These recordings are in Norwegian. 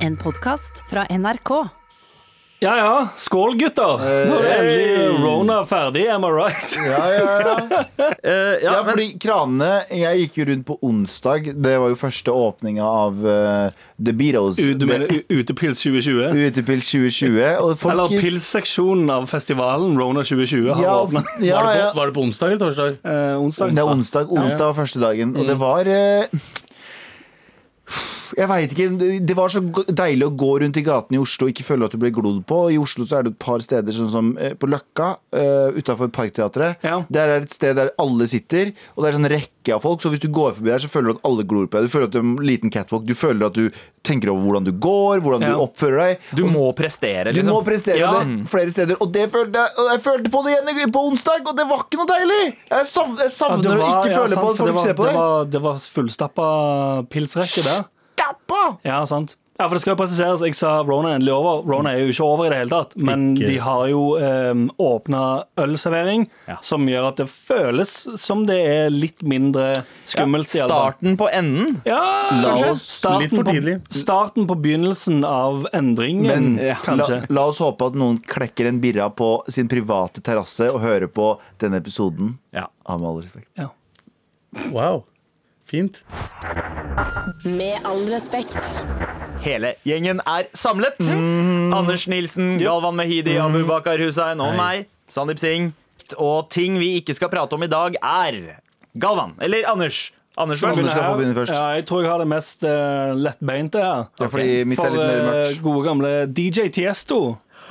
En podkast fra NRK. Ja ja, skål, gutter! Nå er endelig Rona ferdig, am I right? Ja, ja, ja. Eh, ja, ja, men, fordi kranene Jeg gikk jo rundt på onsdag. Det var jo første åpninga av eh, The Beatles. U- Du mener u- Utepils 2020? Utepils 2020. Og folk Eller gikk- pilsseksjonen av festivalen Rona 2020 har Ja, åpna ja, var, det ja. på, var det på onsdag eller torsdag? eh, onsdag. Mm. Det er onsdag. Onsdag var første dagen, og det var eh, jeg vet ikke, Det var så go- deilig å gå rundt i gatene i Oslo og ikke føle at du blir glodd på. I Oslo så er det et par steder, sånn som eh, på Løkka uh, utafor Parkteatret. Ja. Der er et sted der alle sitter, og det er sånn rekke av folk. Så hvis du går forbi der, så føler du at alle glor på deg. Du føler at du er en liten catwalk. Du føler at du tenker over hvordan du går, hvordan Ja. du oppfører deg. du må prestere, liksom. Du må prestere ja. det flere steder. Og det følte jeg, og jeg følte på det igjen i- på onsdag, og det var ikke noe deilig! Jeg savner, jeg Ja, det savner å var- ikke ja, føle sant, på at for det folk var- ser på Det deg. var, det var fullstappa pilsrekke der. Dappa! Ja, sant. Ja, for det skal jo presiseres, Jeg sa Rona er endelig over. Rona er jo ikke over i det hele tatt. Men Ikke. de har jo um, åpna ølservering, som gjør at det føles som det er litt mindre skummelt. i alle fall. Starten på enden. Ja, La kanskje. oss- starten litt for tidlig. På, starten på begynnelsen av endringen, Men la, kanskje. la oss håpe at noen klekker en birra på sin private terrasse og hører på denne episoden. Ja. Av med all respekt. Ja. Wow. Fint. Med all respekt. Hele gjengen er samlet. Mm. Anders Nilsen, Galvan Mehidi, Abubakar Hussein og meg, Sandeep Singh. Og ting vi ikke skal prate om i dag, er Galvan eller Anders. Anders, vær så Anders god. skal få begynne først. Ja, jeg tror jeg har det mest eh, lettbeinte her. Ja, fordi mitt er For litt mer eh, mørkt. gode gamle DJ Tiesto.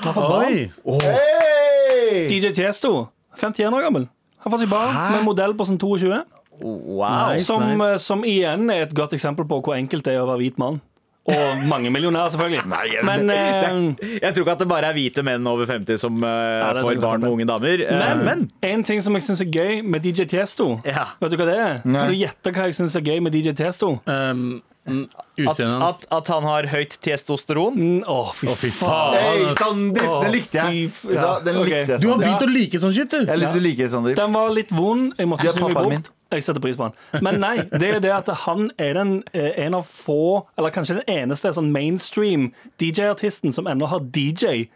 Han får barn. Oi! Hey! DJ Tiesto, 51 år gammel. Han får seg barn med en modell på sånn 22. Wow. Nice, Som, nice. eh, som igjen er et godt eksempel på hvor enkelt det er å være hvit mann. Og mangemillionær, selvfølgelig. men, eh, Jeg tror ikke at det bare er hvite menn over 50 som eh, det er får sant, det er barn med sant. unge damer. Eh, men, en ting som jeg syns er gøy med DJ Tiesto Ja. Vet du hva det er? Nei. Kan du gjette hva jeg syns er gøy med DJ Tiesto? Um, mm, at, Utseendet hans. at, at han har høyt testosteron. Mm, Å, fy, Å, fy faen. faen. Hey, Sandeep! Den likte jeg. Å, fy f- ja, Da, den ok. likte jeg, Du har begynt Sandeep. å like sånn shit, du. Jeg likte du liker, Sandeep. Den var litt vond. Jeg måtte Du er snu meg pappaen bort. min. Jeg setter pris på han. Men nei, det er det at han er den eh, en av få, eller kanskje den eneste sånn mainstream DJ-artisten som ennå har DJ.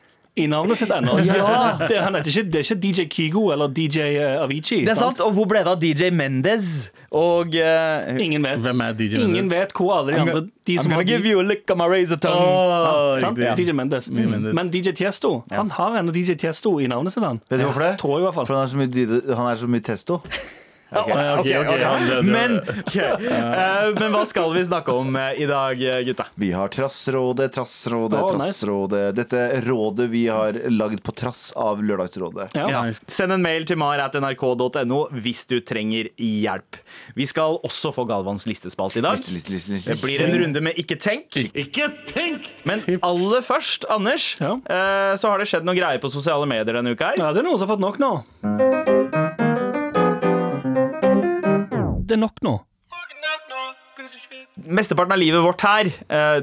I navnet sitt ennå. Det, han heter ikke, det er ikke DJ Kygo eller DJ Avicii. Det er sant, Og hvor ble det av DJ Mendez? Og eh, Ingen vet. Hvem er DJ Ingen Mendes? vet hvor alle de andre de I'm som gonna har give you a lick of my razor tongue. Å, Sant? riktig. DJ Mendes. Mm. Mendes. Men DJ Tiesto Han har ennå DJ Tiesto i navnet sitt. han Vet du hvorfor det? Tror jeg i hvert fall For han er så mye, dyd- han er så mye testo. Ja, ok, ok, ja, det- det- Men, ok, eh, men hva skal vi snakke om eh, i dag, eh, gutta? Vi har Trassrådet, Trassrådet, Å, nice. Trassrådet. Dette rådet vi har lagd på trass av Lørdagsrådet. Ja. Ja. Nice. Send en mail til mar.nrk.no hvis du trenger hjelp. Vi skal også få Galvans listespalt i dag. Liste, liste, liste, liste. Det blir en runde med Ikke tenk. Ikke tenk! Men aller først, Anders, Ja. eh, så har det skjedd noen greier på sosiale medier denne uka. her Ja, det er noen som har fått nok nå. Det er nok nå. Mesteparten av livet vårt her eh,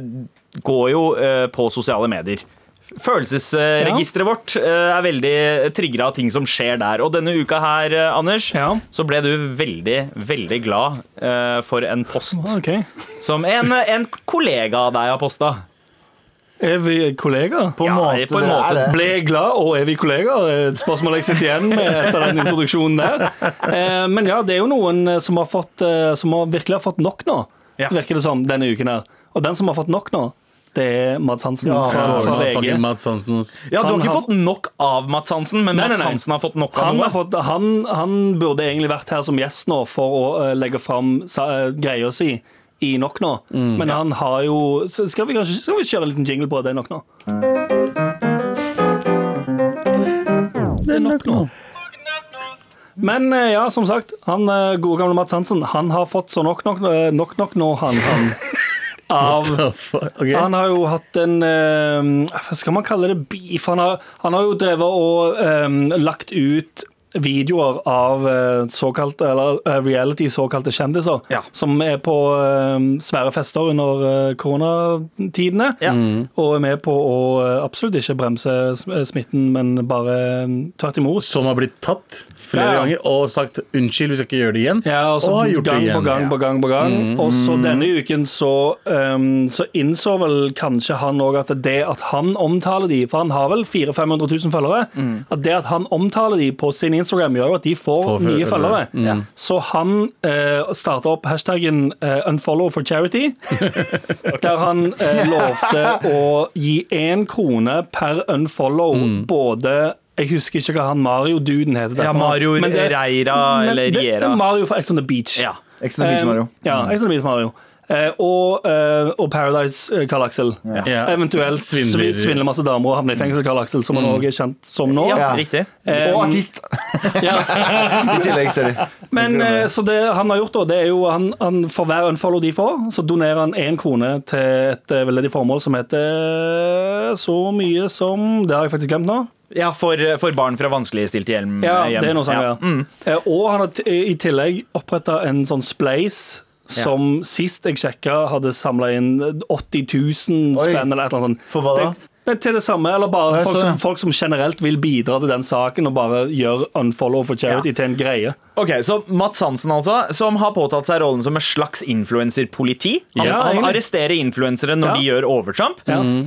går jo eh, på sosiale medier. Følelsesregisteret vårt eh, er veldig trigga av ting som skjer der. Og denne uka her, eh, Anders, Ja. så ble du veldig, veldig glad eh, for en post Ok. som en, en kollega av deg har posta. Er vi kollegaer? På en Ja, måte, på en det måte. er det. Ble jeg glad, og er vi kollegaer? Er Et spørsmål jeg sitter igjen med etter den introduksjonen der. Eh, Men ja, det er jo noen eh, som, har fått, eh, som har virkelig har fått nok nå, Ja. virker det som, denne uken her. Og den som har fått nok nå, det er Mads Hansen Ja, fra, Ja, fra VG. fucking Mads Hansen. ass. Ja, Du har Han ikke har- fått nok av Mats Hansen, men Nei, nei, Mats nei. Hansen har fått nok av Han, noe. har fått, han, han burde egentlig vært her som gjest nå for å eh, legge fram sa- eh, greia si i Nok nå. Men han har jo så Skal vi kanskje skal vi kjøre en liten jingle på det er nok nå? Det er nok nå. Men eh, ja, som sagt, han eh, gode gamle Mats Hansen, han har fått så nok nok, eh, nok, nok nå, han, han av Hva faen? Ok. han har jo hatt en ehm, eh, Hva skal man kalle det? Beef? Han har, han har jo drevet og eh, ehm, lagt ut videoer av eh, såkalte, eller eh, reality såkalte kjendiser, Ja. som er på eh, svære fester under eh, koronatidene, Ja. og er med på å eh, absolutt ikke bremse sm- eh, smitten, men bare eh, tvert imot. Som har blitt tatt flere Ja, ja. ganger og sagt unnskyld, vi skal ikke gjøre det igjen. Ja, og så har gjort gang det igjen. Mm. på gang på gang på gang. Og så denne uken så, ehm, så innså vel kanskje han òg at det at han omtaler de, for han har vel 400 000-500 000 følgere, at det at han omtaler de på sin Instagram, gjør jo at de får, Mm. Får nye følgere. følgere. Mm. Ja. Så han uh, starta opp hashtaggen eh, 'unfollow for charity', der han eh, lovte å gi én krone per unfollow Mm. både jeg husker ikke hva han Mario-duden heter. Ja, derfor. Mario Men det- Reira men eller det- Det Riera. er Mario fra Ex on the Beach. Ja. Mm. Ekstra mye som Mario. Eh, ja, Ex on the Beach Mario. Eh, og, eh, og Paradise eh, Carl Axel. Ja. Eventuelt svindler. Svindler. svindler masse damer og havner i fengsel, Carl Axel, som han òg er kjent som nå. Mm. Ja, Ja. riktig. Eh, Og artist ja. i tillegg, sorry. Men eh, så det han har gjort, da, det er jo han, han for hver unfollow de får, så donerer han én krone til et eh, veldedig formål som heter eh, så mye som Det har jeg faktisk glemt nå. Ja, for, eh, for barn fra vanskeligstilte hjelm. Ja, hjem. det er noe sånt, ja. Mm. Eh, Og han har t- i tillegg oppretta en sånn Splace. Som sist jeg sjekka, hadde samla inn 80 000 Oi. spenn eller et eller annet sånt. For hva da? Det, det, til det samme, eller bare Nei, folk, så- som, folk som generelt vil bidra til den saken, og bare gjør unfollow for charity Ja. til en greie. Ok, så Mats Hansen, altså, som har påtatt seg rollen som en slags influenserpoliti. Han, Ja, han egentlig. arresterer influensere når Ja. de gjør overtramp.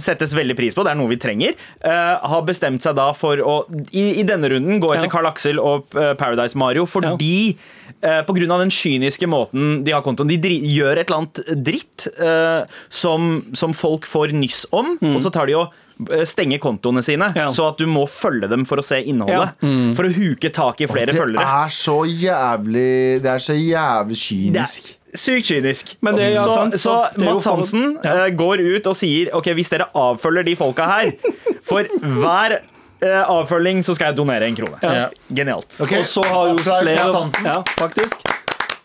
Settes veldig pris på, det er noe vi trenger. Eh, har bestemt seg da for å i, i denne runden gå etter Ja. Carl Axel og eh, Paradise Mario fordi eh, på grunn av den kyniske måten de har kontoen De dri gjør et eller annet dritt eh, som, som folk får nyss om, og så tar de og eh, stenger kontoene sine, Mm. Ja. så at du må følge dem for å se innholdet. For å huke tak i flere Det følgere. er så jævlig Det er så jævlig kynisk. Det er sykt kynisk. Men det er- ja, så sant, så sant, det er jo Mads for- Hansen eh, går ut og sier Ok, hvis dere avfølger de folka her For hver eh, avfølging så skal jeg donere en krone. Ja. Genialt. Ok, Og så har jo applaus til Hans flere Hansen. Ja, faktisk.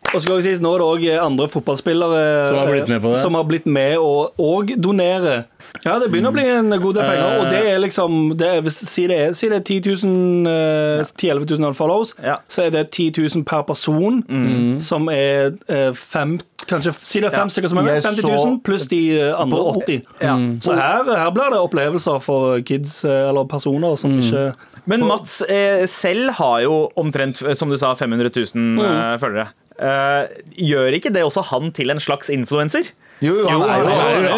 Og så skal jeg sies, nå er det også eh, andre fotballspillere eh, Som har blitt med på det. som har blitt med og, og donerer. Ja, det begynner å bli en god del penger. Og Eh. det er liksom det er, hvis, si, det er, si det er 10 000 eh, 10 000-11 000 unfollows, Ja. så er det 10 000 per person, Mm. som er eh, fem Kanskje si det er fem stykker som er med. Jeg 50 000 så- pluss de eh, andre På- 80. Mm. Så her, her blir det opplevelser for kids eh, eller personer som Mm. ikke Men Mats eh, selv har jo omtrent eh, som du sa, 500 000 eh, følgere. Eh, gjør ikke det også han til en slags influenser? Jo, jo, han er jo han er jo- Han er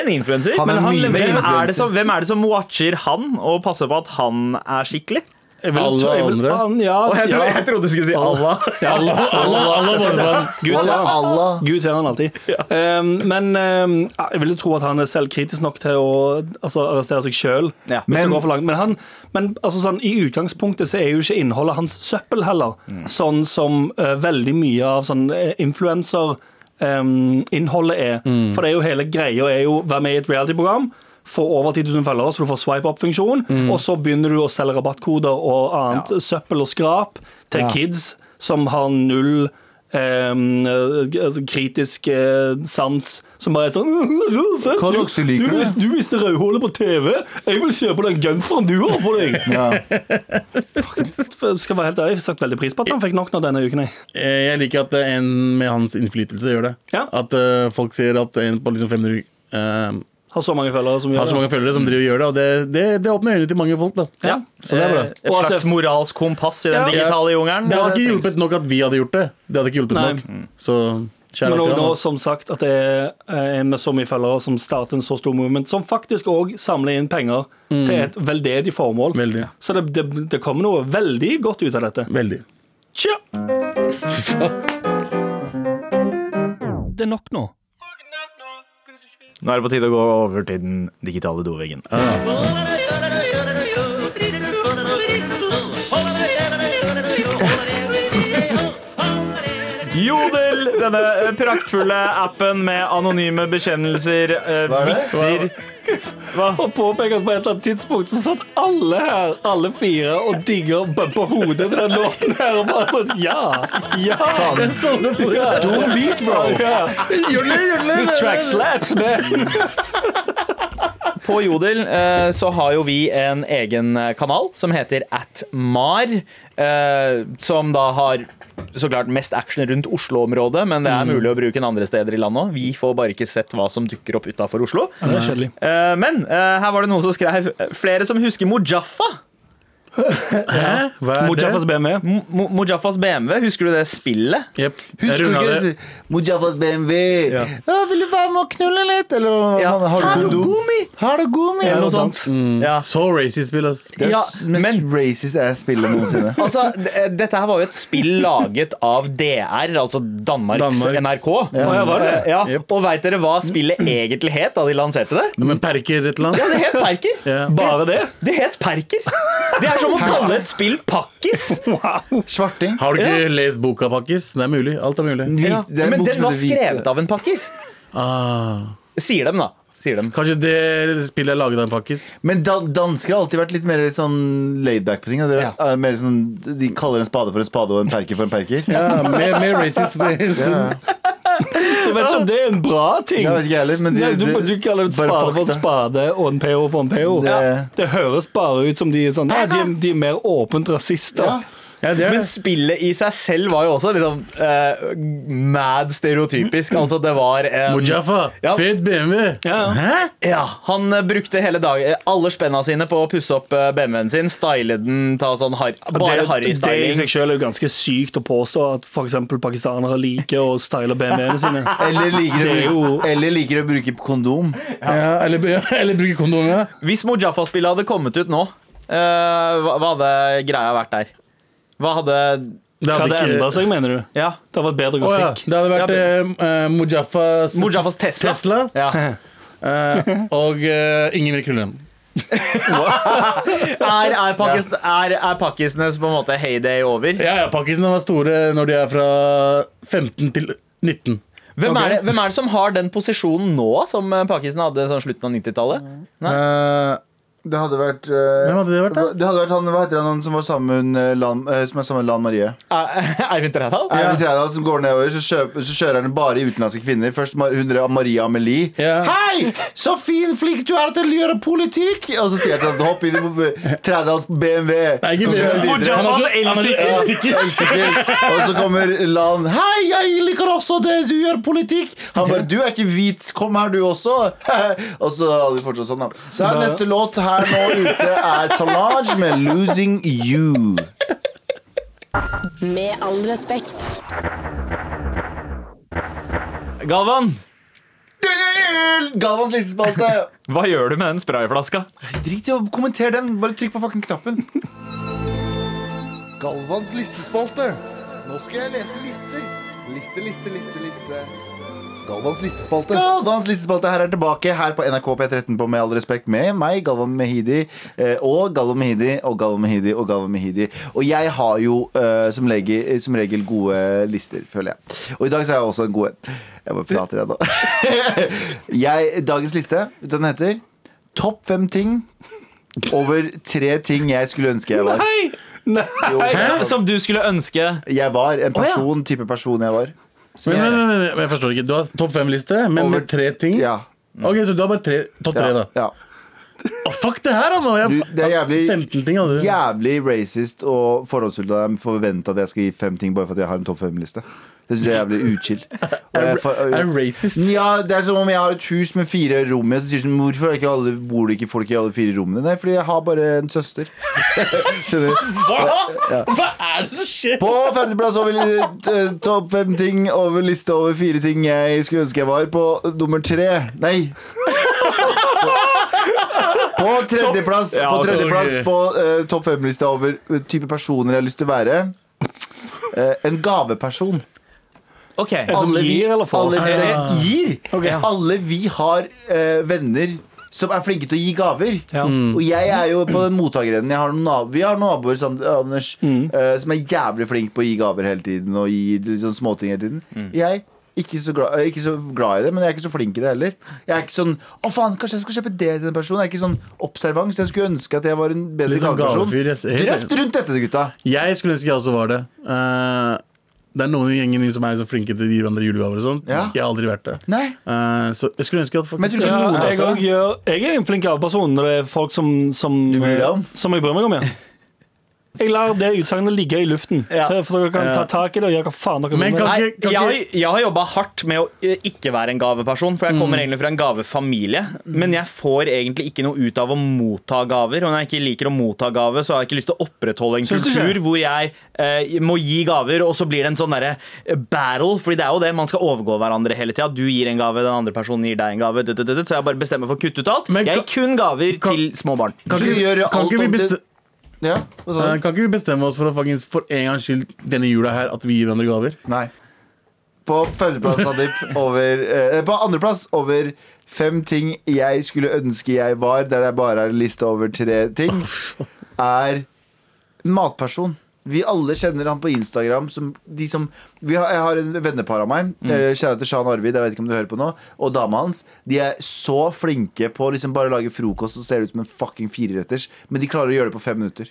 en influenser. Han er Men mye han- mer hvem er influencer. det som- hvem er det som watcher han og passer på at han er skikkelig? jeg vil- Alle jeg vil- Ah, andre? Ja, Og jeg, ja. trodde, jeg trodde du skulle si Allah. Alle, alle, alle bare sånn. Gud ser han. Allah. Gud ser han alltid. Um, men um, ja, jeg vil jo tro at han er selvkritisk nok til å altså, arrestere seg sjøl. Ja. Men, Men- men, han- men altså, sånn, i utgangspunktet så er jo ikke innholdet hans søppel heller. Mm. Sånn som eh, veldig mye av sånn eh, influencer em, innholdet er. Mm. For det er jo hele greia er jo vær med i et reality-program. Få over 10 000 følgere, så du får swipe up-funksjon. Mm. Og så begynner du å selge rabattkoder og annet søppel og skrap til Ja. kids som har null em, eh, altså kritisk eh, sans. Som bare er sånn Hva er det dere liker, du, da? du viste rødhålet på TV. Jeg vil se på den genseren du har på deg. Ja. Fuck, Skal være helt ærlig, jeg har sagt veldig pris på at han fikk nok nå denne uken. jeg. Eh, Jeg liker at eh, en med hans innflytelse gjør det. Ja. At eh, folk sier at en på liksom 500 eh, Har så mange følgere som har gjør så det. mange følgere som driver og gjør det, og det, det, det åpner øynene til mange folk. da Ja. Eh, Så det er bra. Et Og at det- slags moralsk kompass i den Ja. digitale jungelen. Det hadde ikke trengs. hjulpet nok at vi hadde gjort det. Det hadde ikke hjulpet Nei. nok. Så Men kjære også til nå, han. ass. som sagt, at det er eh, en med så mye følgere som starter en så stor movement, som faktisk òg samler inn penger til et veldedig formål. Mm. Veldig. Så det, det, det kommer noe veldig godt ut av dette. Veldig. Tja! Det er nok nå. Nå er det på tide å gå over til den digitale doveggen. Jodel, denne eh, praktfulle appen med anonyme bekjennelser, eh, Hva er det? vitser Og påpeker at på et eller annet tidspunkt så satt alle her, alle fire, og digger og bumper hodet til den låten her, og bare sånn Ja! Ja! Faen. Don't beat, bro. ja. This track slaps, man! på Jodel eh, så har jo vi en egen eh, kanal som heter Atmar, eh, som da har så klart mest action rundt Oslo-området, men det er mulig å bruke den andre steder i landet òg. Vi får bare ikke sett hva som dukker opp utafor Oslo. Ja, det er kjedelig. Eh, men eh, her var det noen som skrev Flere som husker Mojaffa. Hva Mojafas BMW. Mo- Mo- Mojaffas BMW, husker du det spillet? Jepp. Jeg Husker du rundet ikke det. Mujafas BMW? Ja. vil du være med og knulle litt? Eller hva Ja. faen, har du kodo? Hallogomi! Har du gummi? Eller noe sånt. Ja. Så racist spill, ass. Det er Ja, s- mest men- racist jeg spiller noensinne. Altså, d- dette her var jo et spill laget av DR, altså Danmarks Danmark. NRK. Å, ja, var det? Eh, Ja. Jep. Og veit dere hva spillet egentlig het da de lanserte det? Men perker et eller Ja, annet. det het Perker. Ja. Bare det? Det het Perker. Det er som å kalle et spill Pakkis. Svarting. Har du ikke lest boka, Pakkis? Det er mulig. Alt er mulig. Hvit, Ja. det er en Men bok den som var heter Hvit. skrevet av en pakkis. Ah. Sier dem, da. Sier dem. Kanskje det spillet er laget av en pakkis? Men dan dansker har alltid vært litt mer sånn laidback på ting. og Det er, Ja. er mer sånn, de kaller en spade for en spade og en perker for en perker. Ja, mer, mer racist med en stund. Ja. Jeg vet ikke om det er en bra ting. Jeg vet ikke heller, men de, Nei, du, det- du kaller det et bare spade for en fakta. spade og en peo for en peo. Det, Det- høres bare ut som de er sånn Nei, de, de er mer åpent rasister. Ja. Ja, det er Men det. spillet i seg selv var jo også liksom eh, mad stereotypisk. Altså, det var en Mujaffa, Ja. fet BMW! Ja. Hæ? Ja, han eh, brukte hele dag, eh, alle spenna sine på å pusse opp eh, BMW-en sin, style den, ta sånn har, det, bare det i harry-styling. seg selv er jo ganske sykt å påstå at f.eks. pakistanere liker å style BMW-ene sine. Eller liker, Det er å jo- bruke, eller liker å bruke kondom. Ja, eller, eller bruke kondom, ja. Hvis Mojaffa-spillet hadde kommet ut nå, eh, hva hva hadde greia vært der? Hva hadde Det Hva hadde endra seg, mener du? Ja. Det hadde vært bedre Å ja. grafikk. Det hadde vært Ja, eh, eh, Mujaffas, Mojaffas Tesla. Ja. eh, og eh, ingen vil knulle den. Er, er, Pakist, er, er pakkisnes på en måte heyday over? Ja, ja, Pakkisene var store når de er fra 15 til 19. Hvem, Ok. er det, hvem er det som har den posisjonen nå, som eh, Pakistan hadde sånn slutten av 90-tallet? Mm. Nei. Eh, Det hadde vært eh, Hvem hadde det vært, da? Det hadde vært han, Hva heter han, han som var sammen med Lan, eh, som er sammen med Lan Marie? Er- Eivind Trædal? Eivind Trædal som går nedover, så, kjøp, så kjører han bare utenlandske kvinner. Først Mar- hun der Maria Amelie. Ja. Hei! Så fin flink du er til å gjøre politikk! Og så sier han sånn Hopp inn i bo- Trædals BMW. Nei, ikke Og så kjører han videre. Han er så- han er så Ja, elsykkel. elsykkel. Og så kommer Lan. Hei, jeg liker også det du gjør politikk. Han bare Du er ikke hvit, kom her du også. Og så hadde de fortsatt sånn, da. Så her, neste låt her nå ute er Solange med 'Losing You'. Med all respekt. Galvan, Galvans listespalte. hva gjør du med den sprayflaska? Drit i å kommentere den. Bare trykk på fucking knappen. Galvans listespalte. Nå skal jeg lese lister. Liste, liste, liste, liste. Galvans listespalte. Galvans listespalte her er tilbake her på NRK P13 på Med all respekt med meg, Galvan Mehidi, eh, og Galvan Mehidi og Galvan Mehidi og Galvan Mehidi. Og jeg har jo eh, som, lege, eh, som regel gode lister, føler jeg. Og i dag så har jeg også en god en. Jeg bare prater, jeg nå. jeg, dagens liste, vet du hva den heter? Topp fem ting over tre ting jeg skulle ønske jeg var. Nei! Nei. Jo, Som, som du skulle ønske jeg var en person, type person jeg var. Som Men, men, jeg, men, men, men jeg forstår ikke. Du har topp fem-liste, men Over- med tre ting. Mm. ja, Ok, Så du har bare tre, topp tre, ja, da. ja. Å, fuck det her, da! nå. Jeg, Du, det er jævlig 15 ting hadde du. Jævlig racist og forholdsfullt av dem forvente at jeg skal gi fem ting bare for at jeg har en topp fem-liste. Det syns jeg er jævlig uchill. Og jeg for- Er du racist? Ja, det er som om jeg har et hus med fire rom i, og så sier du sånn, hvorfor er ikke alle, bor det ikke folk i alle fire rommene? Nei, fordi jeg har bare en søster. Skjønner du? Hva? Hva er det som skjer? På femteplass over eh, topp fem ting over liste over fire ting jeg skulle ønske jeg var. På nummer tre Nei. På tredjeplass Ja, på, ok. tredjeplass på eh, topp fem-lista over eh, type personer jeg har lyst til å være. Eh, en gaveperson. Ok, Som gir, eller får? alle, Ja. det, gir. Ok. alle vi har eh, venner som er flinke til å gi gaver. Ja. Og jeg er jo på den mottakerenden. Jeg har noen nab vi har naboer som, Anders, eh, som er jævlig flink på å gi gaver hele tiden. Og gi litt sånn småting hele tiden. Jeg ikke så, glad, ikke så glad i det, men jeg er ikke så flink i det heller. Jeg er ikke sånn 'Å, faen, kanskje jeg skal kjøpe det til den personen'. Jeg er ikke sånn observant. så Jeg skulle ønske at jeg var en bedre Litt sånn gaveperson. gavefyr, jeg ser- Drøft rundt dette, gutta. Jeg skulle ønske jeg også var det. Eh, Det er noen i gjengen min som er liksom flinke til å gi hverandre julegaver. og sånt Ja. Jeg har aldri vært det. Nei. Eh, så jeg skulle ønske at folk Men jeg tror ikke Ja, noen jeg, av oss også er det. gjør, jeg er en flink gaveperson når det er folk som, som eh, Du bryr deg om? Som jeg bryr meg om, ja. Jeg lar det utsagnet ligge i luften, Ja. til, for dere kan ta tak i det og gjøre hva faen dere Men vil. kan- med det. Nei, ikke- jeg, ikke- har- jeg har jobba hardt med å eh, ikke være en gaveperson, for jeg kommer Mm. egentlig fra en gavefamilie. Men jeg får egentlig ikke noe ut av å motta gaver. Og når jeg ikke liker å motta gave, så har jeg ikke lyst til å opprettholde en Syns du kultur ikke? hvor jeg eh, må gi gaver, og så blir det en sånn derre eh, battle. Fordi det er jo det, man skal overgå hverandre hele tida. Du gir en gave, den andre personen gir deg en gave. død, død, død, død. Så jeg bare bestemmer for å kutte ut alt. Men Jeg kan- gir kun gaver kan- til små barn. kan Skal vi ikke, gjøre kan alt ikke vi om til- beste- Ja, hva sa Eh, du? Kan ikke vi bestemme oss for å faktisk for en gangs skyld denne jula her at vi gir hverandre gaver? Nei. På femteplass, Sandeep, over eh, På andreplass over fem ting jeg skulle ønske jeg var, der jeg bare har en liste over tre ting, er matperson. Vi alle kjenner han på Instagram som de som vi har, Jeg har en vennepar av meg, Mm. eh, kjære til Shan Arvid, jeg vet ikke om du hører på nå, og dama hans. De er så flinke på å liksom bare lage frokost og ser ut som en fucking fireretters, men de klarer å gjøre det på fem minutter.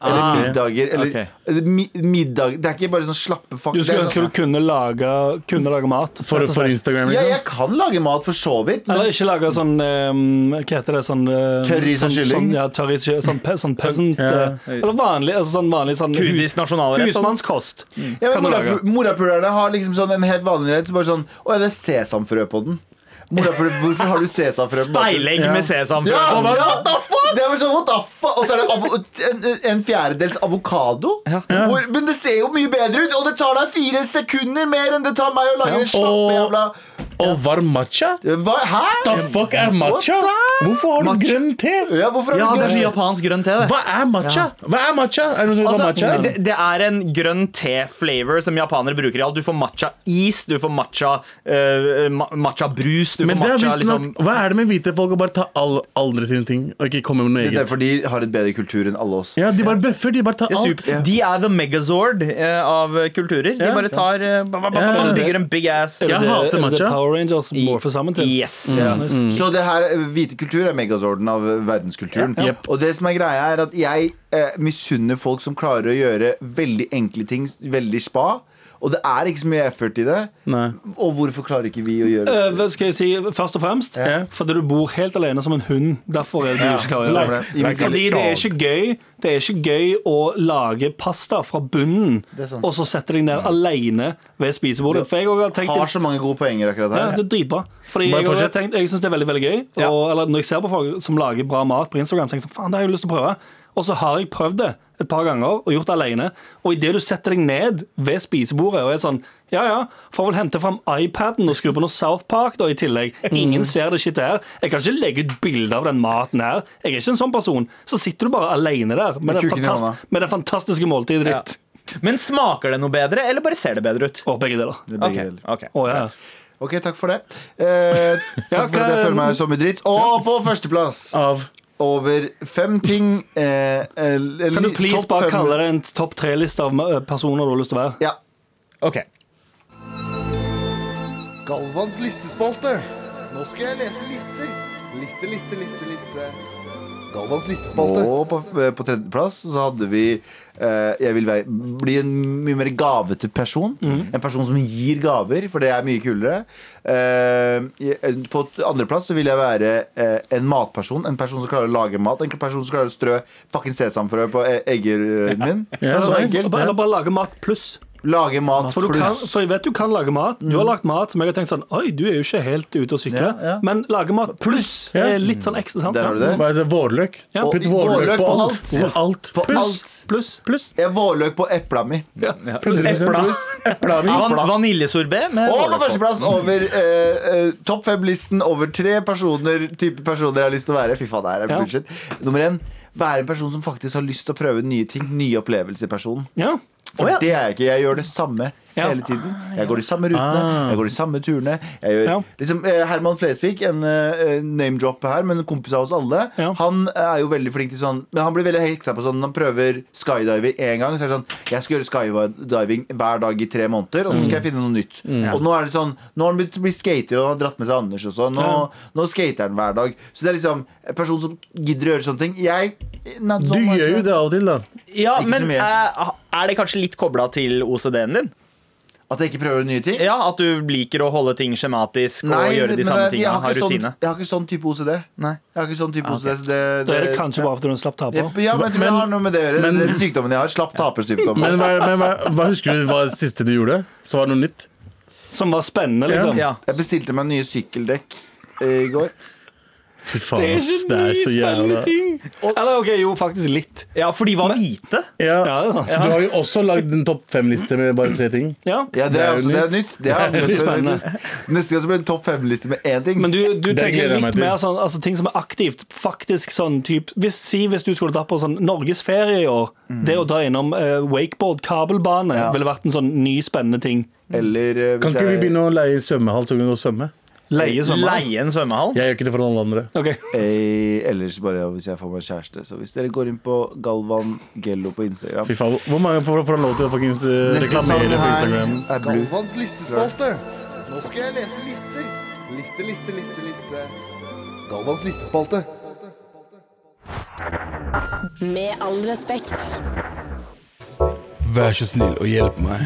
Eller Ah, ok. middager. Eller, Ok. eller mi, middag Det er ikke bare sånn slappe fuck. Du det er skulle sånn- ønske du kunne lage, kunne lage mat. For, rett og for slett. Instagram, Ja, liksom? jeg kan lage mat for så vidt, men Eller ikke lage sånn ehm, Hva heter det? Sånn, eh, Tørris og sånn- kylling? Sånn, ja, tørris, og kylling, sånn, pe, sånn peasant Ja. eh, Eller vanlig, altså sånn vanlig sånn, hus, Kurdisk nasjonalrett. sånn. husmannskost. ja, men kan du lage. morapu- morapulerne har liksom sånn en helt vanlig rett. Så bare sånn Å ja, det er sesamfrø på den. Morapul hvorfor har du sesamfrø på maten? Speilegg med sesam. Ja, ja, what the fuck? Det er bare sånn, what the fuck? Og så er det avo en, en fjerdedels avokado. Hvor, men det ser jo mye bedre ut, og det tar deg fire sekunder mer enn det tar meg å lage en slappe Og- jævla Og varm matcha? Hva? The Hæ? fuck er matcha? What the- Hvorfor har du Matcha. grønn te? Ja, hvorfor Ja, har du det er så grønn- japansk grønn te. det. Hva er matcha? Hva er matcha? Er det noen som vet hva matcha Altså, er? det, det er en grønn te-flavor som japanere bruker i alt. Du får matcha-is, du får matcha, eh, ma- matcha-brus, du får Men det er matcha visst liksom, nok, hva er det med hvite folk å bare ta all, andre sine ting og ikke komme med noe Det er eget? derfor de har et bedre kultur enn alle oss. Ja, de bare bøffer. De bare tar Det er alt. super- De er the megazord eh, av kulturer. De Ja, bare sant. tar eh, ba- ba- ba- Ja, ba- ja. Bygger en big ass. Jeg Det- hater det matcha. Power Rangers morfer sammen til. Yes. Mm. Så det her, eh, hvite kultur er megazorden av eh, verdenskulturen. Ja. Jep. Og det som er greia, er at jeg eh, misunner folk som klarer å gjøre veldig enkle ting veldig spa. Og det er ikke så mye effort i det. Nei. Og hvorfor klarer ikke vi å gjøre det? Eh, hva skal jeg si, først og fremst eh, Ja. Fordi du bor helt alene som en hund. Derfor er det du ikke klarer å gjøre stemmer det. I mitt det. Fordi det er ikke gøy Det er ikke gøy å lage pasta fra bunnen, Det er sant. og så sette deg ned alene ved spisebordet. For jeg også har tenkt Har så mange gode poenger akkurat ja, her. det er dritbra. Fordi Bare jeg, også har fortsett. tenkt, jeg syns det er veldig veldig gøy. Ja. Og, eller Når jeg ser på folk som lager bra mat på Instagram, tenker jeg sånn, faen, det har jeg lyst til å prøve. Og så har jeg prøvd det et par ganger og gjort det alene. Og idet du setter deg ned ved spisebordet og er sånn Ja ja, får vel hente fram iPaden og skru på noe South Park da i tillegg. Ingen ser det shitet her. Jeg kan ikke legge ut bilde av den maten her. Jeg er ikke en sånn person. Så sitter du bare alene der med, det, kuken i fantast- hånda. med det fantastiske måltidet Ja. ditt. Men smaker det noe bedre, eller bare ser det bedre ut? Og begge deler. Det er Ok, begge deler. ok. Å, ja. Ok, takk for det. Eh, takk for at jeg hva- føler meg som i dritt. Og på førsteplass, Av over fem ting eh, eller, Kan du please bare kalle det en topp tre-liste av eh, personer du har lyst til å være? Ja. Ok. Galvans listespalte. Nå skal jeg lese lister. Liste, liste, liste, liste. Galvans listespalte. Og på, eh, på tredjeplass så hadde vi eh, Jeg vil være, bli en mye mer gavete person. Mhm. En person som gir gaver, for det er mye kulere. Eh, jeg- på t- andreplass så vil jeg være eh, en matperson. En person som klarer å lage mat. En person som klarer å strø fucking sesamfrø på e- eggerøren min. Ja, så nice. enkelt. Eller bare lage mat pluss. Lage mat For, du kan, pluss. for jeg vet du kan lage mat. Du har Mm. lagd mat som jeg har tenkt sånn Oi, du er jo ikke helt ute å sykle. Ja, ja. Men lage mat pluss er litt sånn ekstra. Sant? Der har du det. hva er det, vårløk. Ja. Putt Og- vårløk på alt. alt. På alt. På Pluss. alt. Pluss. Pluss. Jeg vårløk på epla mi. Ja. Pluss. Epla. Epla mi. Van, Vaniljesorbé med Og på vårløk på. førsteplass over eh, eh, topp fem-listen over tre personer type personer jeg har lyst til å være. Fy faen, det her er Ja. bullshit. Nummer én være en person som faktisk har lyst til å prøve nye ting. Nye opplevelser. personen Ja. For Å, ja. det er jeg ikke. Jeg gjør det samme Ja. hele tiden. Jeg går de samme rutene, jeg går de samme turene. Jeg gjør, Ja. liksom, eh, Herman Flesvig, en eh, name-drop her, men en kompis av oss alle, Ja. han er jo veldig flink til sånn Men han blir veldig hekta på sånn Han prøver skydiving én gang, så er det sånn Jeg skal gjøre skydiving hver dag i tre måneder, og så skal jeg finne noe nytt. Og nå er det sånn Nå har han begynt å bli skater, og han har dratt med seg Anders også. Nå, nå skater han hver dag. Så det er liksom en person som gidder å gjøre sånne ting. sånn Jeg eh, not so Du much, gjør jo det av og til, da. Ja, Ikke så men mye. eh, er det kanskje litt kobla til OCD-en din? At jeg ikke prøver nye ting? Ja, At du liker å holde ting skjematisk og gjøre de men jeg- samme jeg tingene. har Ha ikke sånn- rutine. Jeg har ikke sånn type OCD. Nei. Jeg har ikke sånn type Ah, OCD. så Det, det, Da er Eh, det kanskje bare fordi hun slapp taper. ja, men, det har noe med det å gjøre. Den sykdommen jeg har, slapp tapersykdom. Men, hva, men hva, hva husker du hva det siste du gjorde? Så var det noe nytt? Som var spennende, liksom. Ja. Jeg bestilte meg nye sykkeldekk eh, i går. Fy faen, ass, det er så jævla ting. Eller OK, jo, faktisk litt. ja, for de var hvite. Ja, ja. det er sant. Du har jo også lagd en topp fem-liste med bare tre ting. Ja. Ja, det, er, Det er jo altså, det er nytt. Det er Det er nytt. spennende. Neste gang så blir det en topp fem-liste med én ting. Men du, du Det gleder jeg tenker meg litt til. mer sånn altså, ting som er aktivt. Faktisk sånn typ, hvis, Si hvis du skulle tatt på sånn norgesferie i år. Det å dra innom eh, wakeboard, kabelbane, Mm. Ja. ville vært en sånn ny, spennende ting. Eller eh, Kan hvis ikke vi jeg begynne å leie svømmehall, så vi kan gå og svømme? Leie svømmehall. Leie en svømmehall. Jeg gjør ikke det for alle andre. Ok. eh, Ellers bare hvis jeg får meg kjæreste. Så hvis dere går inn på Galvan Gello på Instagram Fy faen, hvor- Hvor mange får, får lov til å fuckings eh, Neste sang reklamere for her Instagram? er Blue. Galvans listespalte. Nå skal jeg lese lister. Liste, liste, liste, liste. Galvans listespalte. Med all respekt. Vær så snill og hjelp meg.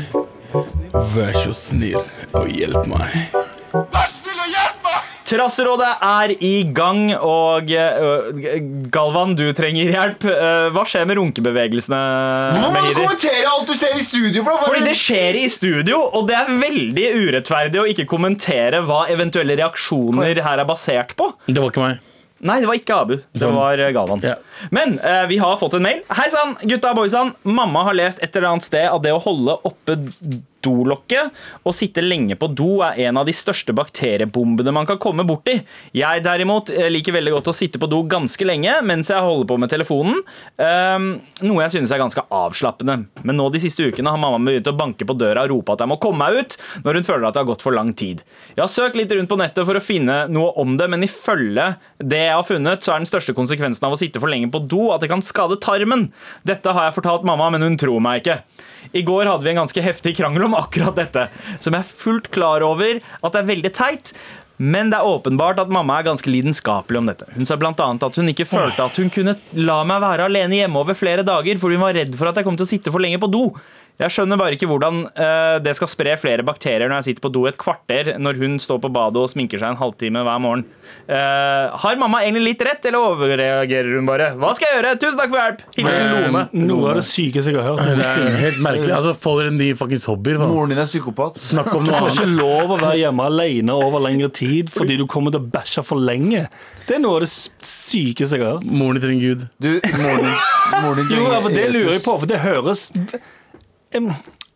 Vær så snill og hjelp meg. Trasserådet er i gang, og eh, Galvan, du trenger hjelp. Eh, Hva skjer med runkebevegelsene? Hvorfor må du Mehidi? kommentere alt du ser i studio? Bro? Fordi det skjer i studio, og det er veldig urettferdig å ikke kommentere hva eventuelle reaksjoner her er basert på. Det var ikke meg. Nei, det var ikke Abu. Det Sånn. var eh, Galvan. Ja. Men eh, vi har fått en mail. Hei sann, gutta og boysan. Mamma har lest et eller annet sted at det å holde oppe dolokket og sitte lenge på do er en av de største bakteriebombene man kan komme borti. Jeg derimot eh, liker veldig godt å sitte på do ganske lenge mens jeg holder på med telefonen, ehm, noe jeg synes er ganske avslappende. Men nå de siste ukene har mamma begynt å banke på døra og rope at jeg må komme meg ut når hun føler at det har gått for lang tid. Jeg har søkt litt rundt på nettet for å finne noe om det, men ifølge det jeg har funnet, så er den største konsekvensen av å sitte for lenge på do at det kan skade tarmen. Dette har jeg fortalt mamma, men hun tror meg ikke. I går hadde vi en ganske heftig krangel om akkurat dette, som jeg er fullt klar over at det er veldig teit. Men det er åpenbart at mamma er ganske lidenskapelig om dette. Hun sa bl.a. at hun ikke følte at hun kunne la meg være alene hjemme over flere dager, fordi hun var redd for at jeg kom til å sitte for lenge på do. Jeg skjønner bare ikke hvordan eh, det skal spre flere bakterier når jeg sitter på do et kvarter når hun står på badet og sminker seg en halvtime hver morgen. Eh, har mamma egentlig litt rett, eller overreagerer hun bare? Hva skal jeg gjøre? Tusen takk for hjelp! Hilsen Lone. Noe av det sykeste jeg har hørt. Det er helt merkelig. Altså, For en ny fuckings hobbyer. hva? Moren din er psykopat. Snakk om noe Du får annet. ikke lov å være hjemme alene over lengre tid fordi du kommer til å bæsje for lenge. Det er noe av det s- sykeste jeg har hørt. Moren din trenger Gud. Du, moren din, moren din Jo, ja, men Det trenger lurer jeg Jesus. på, for det høres Em,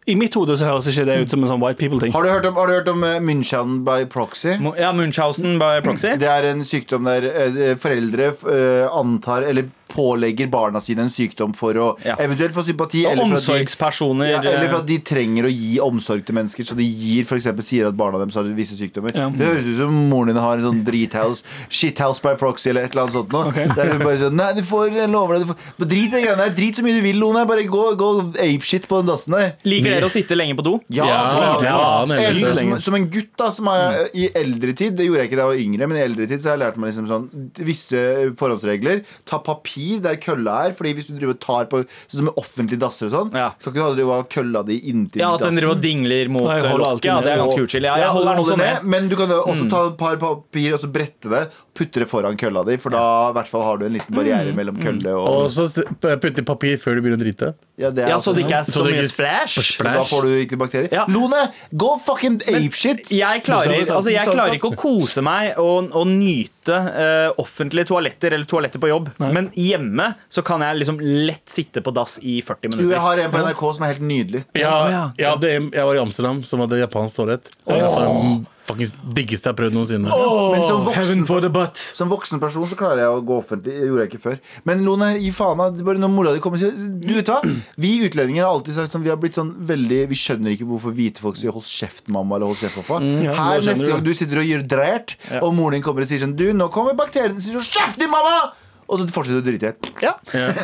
I mitt hode så høres ikke det ut som en sånn white people-ting. Har du hørt om, har du hørt om eh, Munchausen by proxy? Mo- Ja, Munchhausen by proxy. Det er en sykdom der eh, foreldre eh, antar eller pålegger barna sine en sykdom for å Ja. eventuelt få sympati. Og Eller for, at de, omsorgspersoner. eh. ja, eller for at de trenger å gi omsorg til mennesker, så de gir for eksempel, sier at barna deres har visse sykdommer. Ja. Det høres ut som moren din har en sånn drithouse, shithouse by proxy eller et eller annet sånt. Nå, Der hun bare sånn Nei, du får jeg lover deg, du får, Men Drit i de greiene her. Drit så mye du vil, Lone. Bare gå, gå apeshit på den dassen der. Liker dere å sitte lenge på do? Ja, Ja, klart. faen, Jeg jeg eldre, elsker det. som, som en gutt da som er, i eldre tid Det gjorde jeg ikke da jeg var yngre, men i eldre tid så har jeg lært meg liksom sånn, visse forholdsregler. Ta papir der kølla er, Fordi hvis du driver og tar på Sånn som med offentlige dasser og sånn, Ja. kan ikke du ha drive og ha kølla di inntil Ja, At den driver og dingler mot Nei, jeg holder lokket. alltid Ja, ned. det er ganske uchill. Ja, jeg Mm. holder den hold også det ned. Men du kan jo også ta et par papir og så brette det, putte det foran kølla di, for da i hvert fall har du en liten barriere Mm. mellom kølle Og og så putte i papir før du begynner å drite. Ja, det er Ja, altså- Så det ikke er Så så det mye ikke splash. så da får du ikke bakterier. Ja. Lone, go fucking apeshit! Jeg klarer, Morsomt. altså jeg klarer ikke å kose meg og, og nyte eh, offentlige toaletter eller toaletter på jobb, men hjemme så kan jeg liksom lett sitte på dass i Jo, 40 jeg minutter. har en på NRK som er helt nydelig. Ja, jeg, hadde, jeg var i Amsterdam, som hadde japansk toalett. Det er altså den fuckings diggeste jeg har prøvd noensinne. Men som voksen, for the butt. som voksen person så klarer jeg å gå offentlig. Det gjorde jeg ikke før. Men Lone, gi faen av bare når mora di kommer og sier Du vet hva? Vi utlendinger har alltid sagt sånn Vi har blitt sånn veldig Vi skjønner ikke hvorfor hvite folk sier 'hold kjeft, mamma' eller 'hold kjeft, pappa'. nå Her skjønner neste du. gang du sitter og gjør drært, og moren din kommer og sier sånn 'Du, nå kommer bakteriene', sier sånn 'Kjeft din, mamma!' Og så fortsetter du å drite i det. Ja.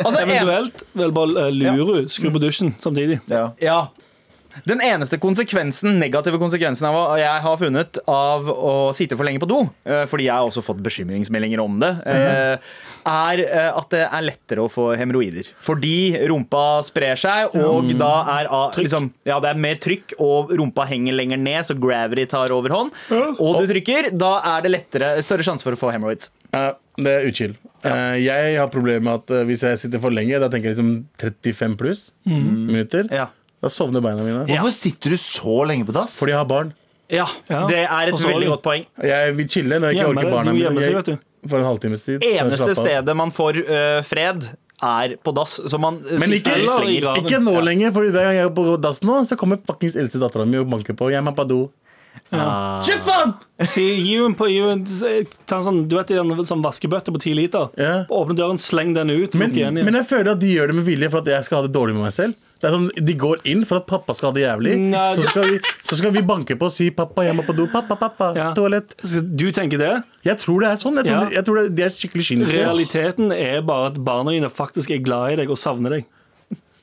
Altså, en, Eventuelt vel bare eh, luru, skru på dusjen samtidig. Ja. ja. Den eneste konsekvensen, negative konsekvensen av, å- jeg har funnet av å sitte for lenge på do, eh, fordi jeg har også fått bekymringsmeldinger om det, eh, er eh, at det er lettere å få hemoroider. Fordi rumpa sprer seg, og da er a- liksom, ja, det er mer trykk, og rumpa henger lenger ned, så gravity tar overhånd. Og du trykker, da er det lettere, større sjanse for å få hemoroids. Ja, det er utskill. Eh, jeg har problemer med at eh, hvis jeg sitter for lenge, da tenker jeg liksom 35 pluss minutter, Ja. da sovner beina mine. Hvorfor sitter du så lenge på dass? Fordi jeg har barn. Ja, Ja, det er et forståelig. veldig godt poeng. Jeg vil chille når jeg ikke Gjemme orker deg, barna du må gjemme mine. seg, Jeg- vet du. For en halvtimes tid. så jeg Eneste slapper av. stedet man får eh, fred, er på dass. Så man eh, Men sitter ikke- litt Eller i lenger. graven. Ikke nå lenger, for hver gang jeg er på dass nå, så kommer fuckings eldste dattera mi og banker på. Jeg må på do. Kjeft Ah. faen! Si, gi henne på, gi henne- ta en sånn, du vet den sånn vaskebøtte på ti liter? Ja. Åpne døren, sleng den ut. Men, lukk igjen igjen. men jeg føler at de gjør det med vilje for at jeg skal ha det dårlig med meg selv. Det er sånn, De går inn for at pappa skal ha det jævlig. Nei. Så skal, vi, så skal vi banke på og si 'pappa, jeg må på do'. Pappa, pappa, Ja. toalett. Så Du tenker det? Jeg tror det er sånn. Jeg tror, Ja. jeg tror det, de er skikkelig kyniske. Realiteten er bare at barna dine faktisk er glad i deg og savner deg.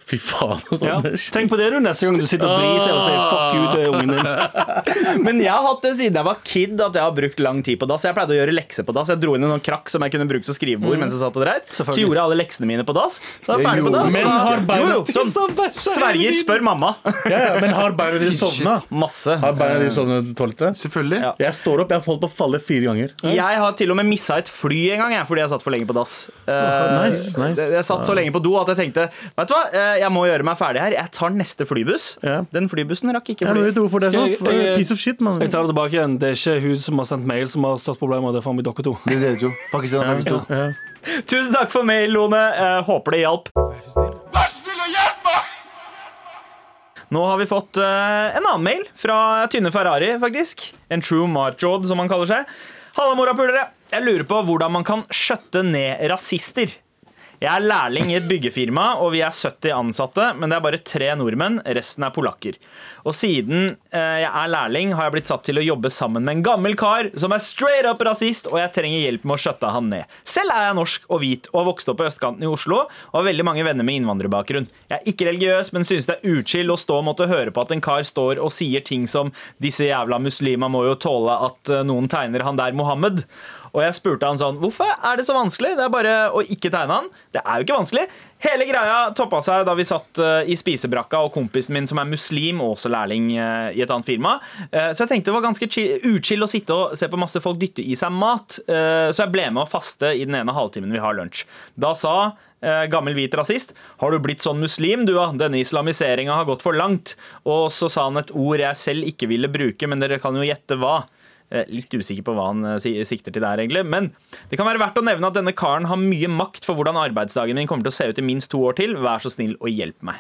Fy faen, altså. Ja. Anders. Tenk på det du neste gang du sitter og driter og sier fuck you til ungen din. Men jeg har hatt det siden jeg var kid at jeg har brukt lang tid på dass. Jeg pleide å gjøre lekser på dass. Jeg dro inn en sånn krakk som jeg kunne bruke som skrivebord mens jeg satt og dreit. Så Selvfølgelig. gjorde jeg alle leksene mine på dass. Da er jeg Det ferdig på gjorde dass. du Men har Jo, beina, jo, sånn. Sverger, spør mamma. ja, ja, men har beina dine sovna? Masse. Har beina dine sovna i toalettet? Selvfølgelig. Ja. Jeg står opp. Jeg har holdt på å falle fire ganger. Jeg har til og med missa et fly en gang jeg, fordi jeg satt for lenge på dass. Eh, nice, nice. det- Jeg satt så lenge på do at jeg tenkte Vet du hva, Eh, jeg må gjøre meg ferdig her. Jeg tar neste flybuss. Ja. Den flybussen rakk ikke Jeg vet fly. ikke hvorfor det er Skal sånn. jeg- For det er Piece of shit, mann. Jeg tar det tilbake igjen. Det er ikke hun som har sendt mail som har størst problemer. Det er faen meg dere to. Det er dere to. Pakistan og Pakistan. Tusen takk for mail, Lone. Eh, Håper det hjalp. Vær så snill og hjelp meg! Nå har vi fått eh, en annen mail fra Tynne Ferrari, faktisk. En true marchod, som han kaller seg. Halla, morapulere. Jeg lurer på hvordan man kan skjøtte ned rasister. Jeg er lærling i et byggefirma, og vi er 70 ansatte, men det er bare tre nordmenn, resten er polakker. Og siden eh, jeg er lærling, har jeg blitt satt til å jobbe sammen med en gammel kar som er straight up rasist, og jeg trenger hjelp med å skjøtte han ned. Selv er jeg norsk og hvit, og har vokst opp på østkanten i Oslo, og har veldig mange venner med innvandrerbakgrunn. Jeg er ikke religiøs, men synes det er utskill å stå og måtte høre på at en kar står og sier ting som disse jævla muslima må jo tåle at eh, noen tegner han der Mohammed. Og jeg spurte han sånn Hvorfor er det så vanskelig? Det er bare å ikke tegne han. Det er jo ikke vanskelig. Hele greia toppa seg da vi satt eh, i spisebrakka, og kompisen min som er muslim og også lærling eh, i et annet firma. Eh, så jeg tenkte det var ganske chi- uchill å sitte og se på masse folk dytte i seg mat. Eh, så jeg ble med å faste i den ene halvtimen vi har lunsj. Da sa eh, gammel hvit rasist Har du blitt sånn muslim, du, da? Denne islamiseringa har gått for langt. Og så sa han et ord jeg selv ikke ville bruke, men dere kan jo gjette hva. Eh, Litt usikker på hva han eh, si- sikter til der, egentlig. Men det kan være verdt å nevne at denne karen har mye makt for hvordan arbeidsdagen min kommer til å se ut i minst to år til. Vær så snill og hjelp meg.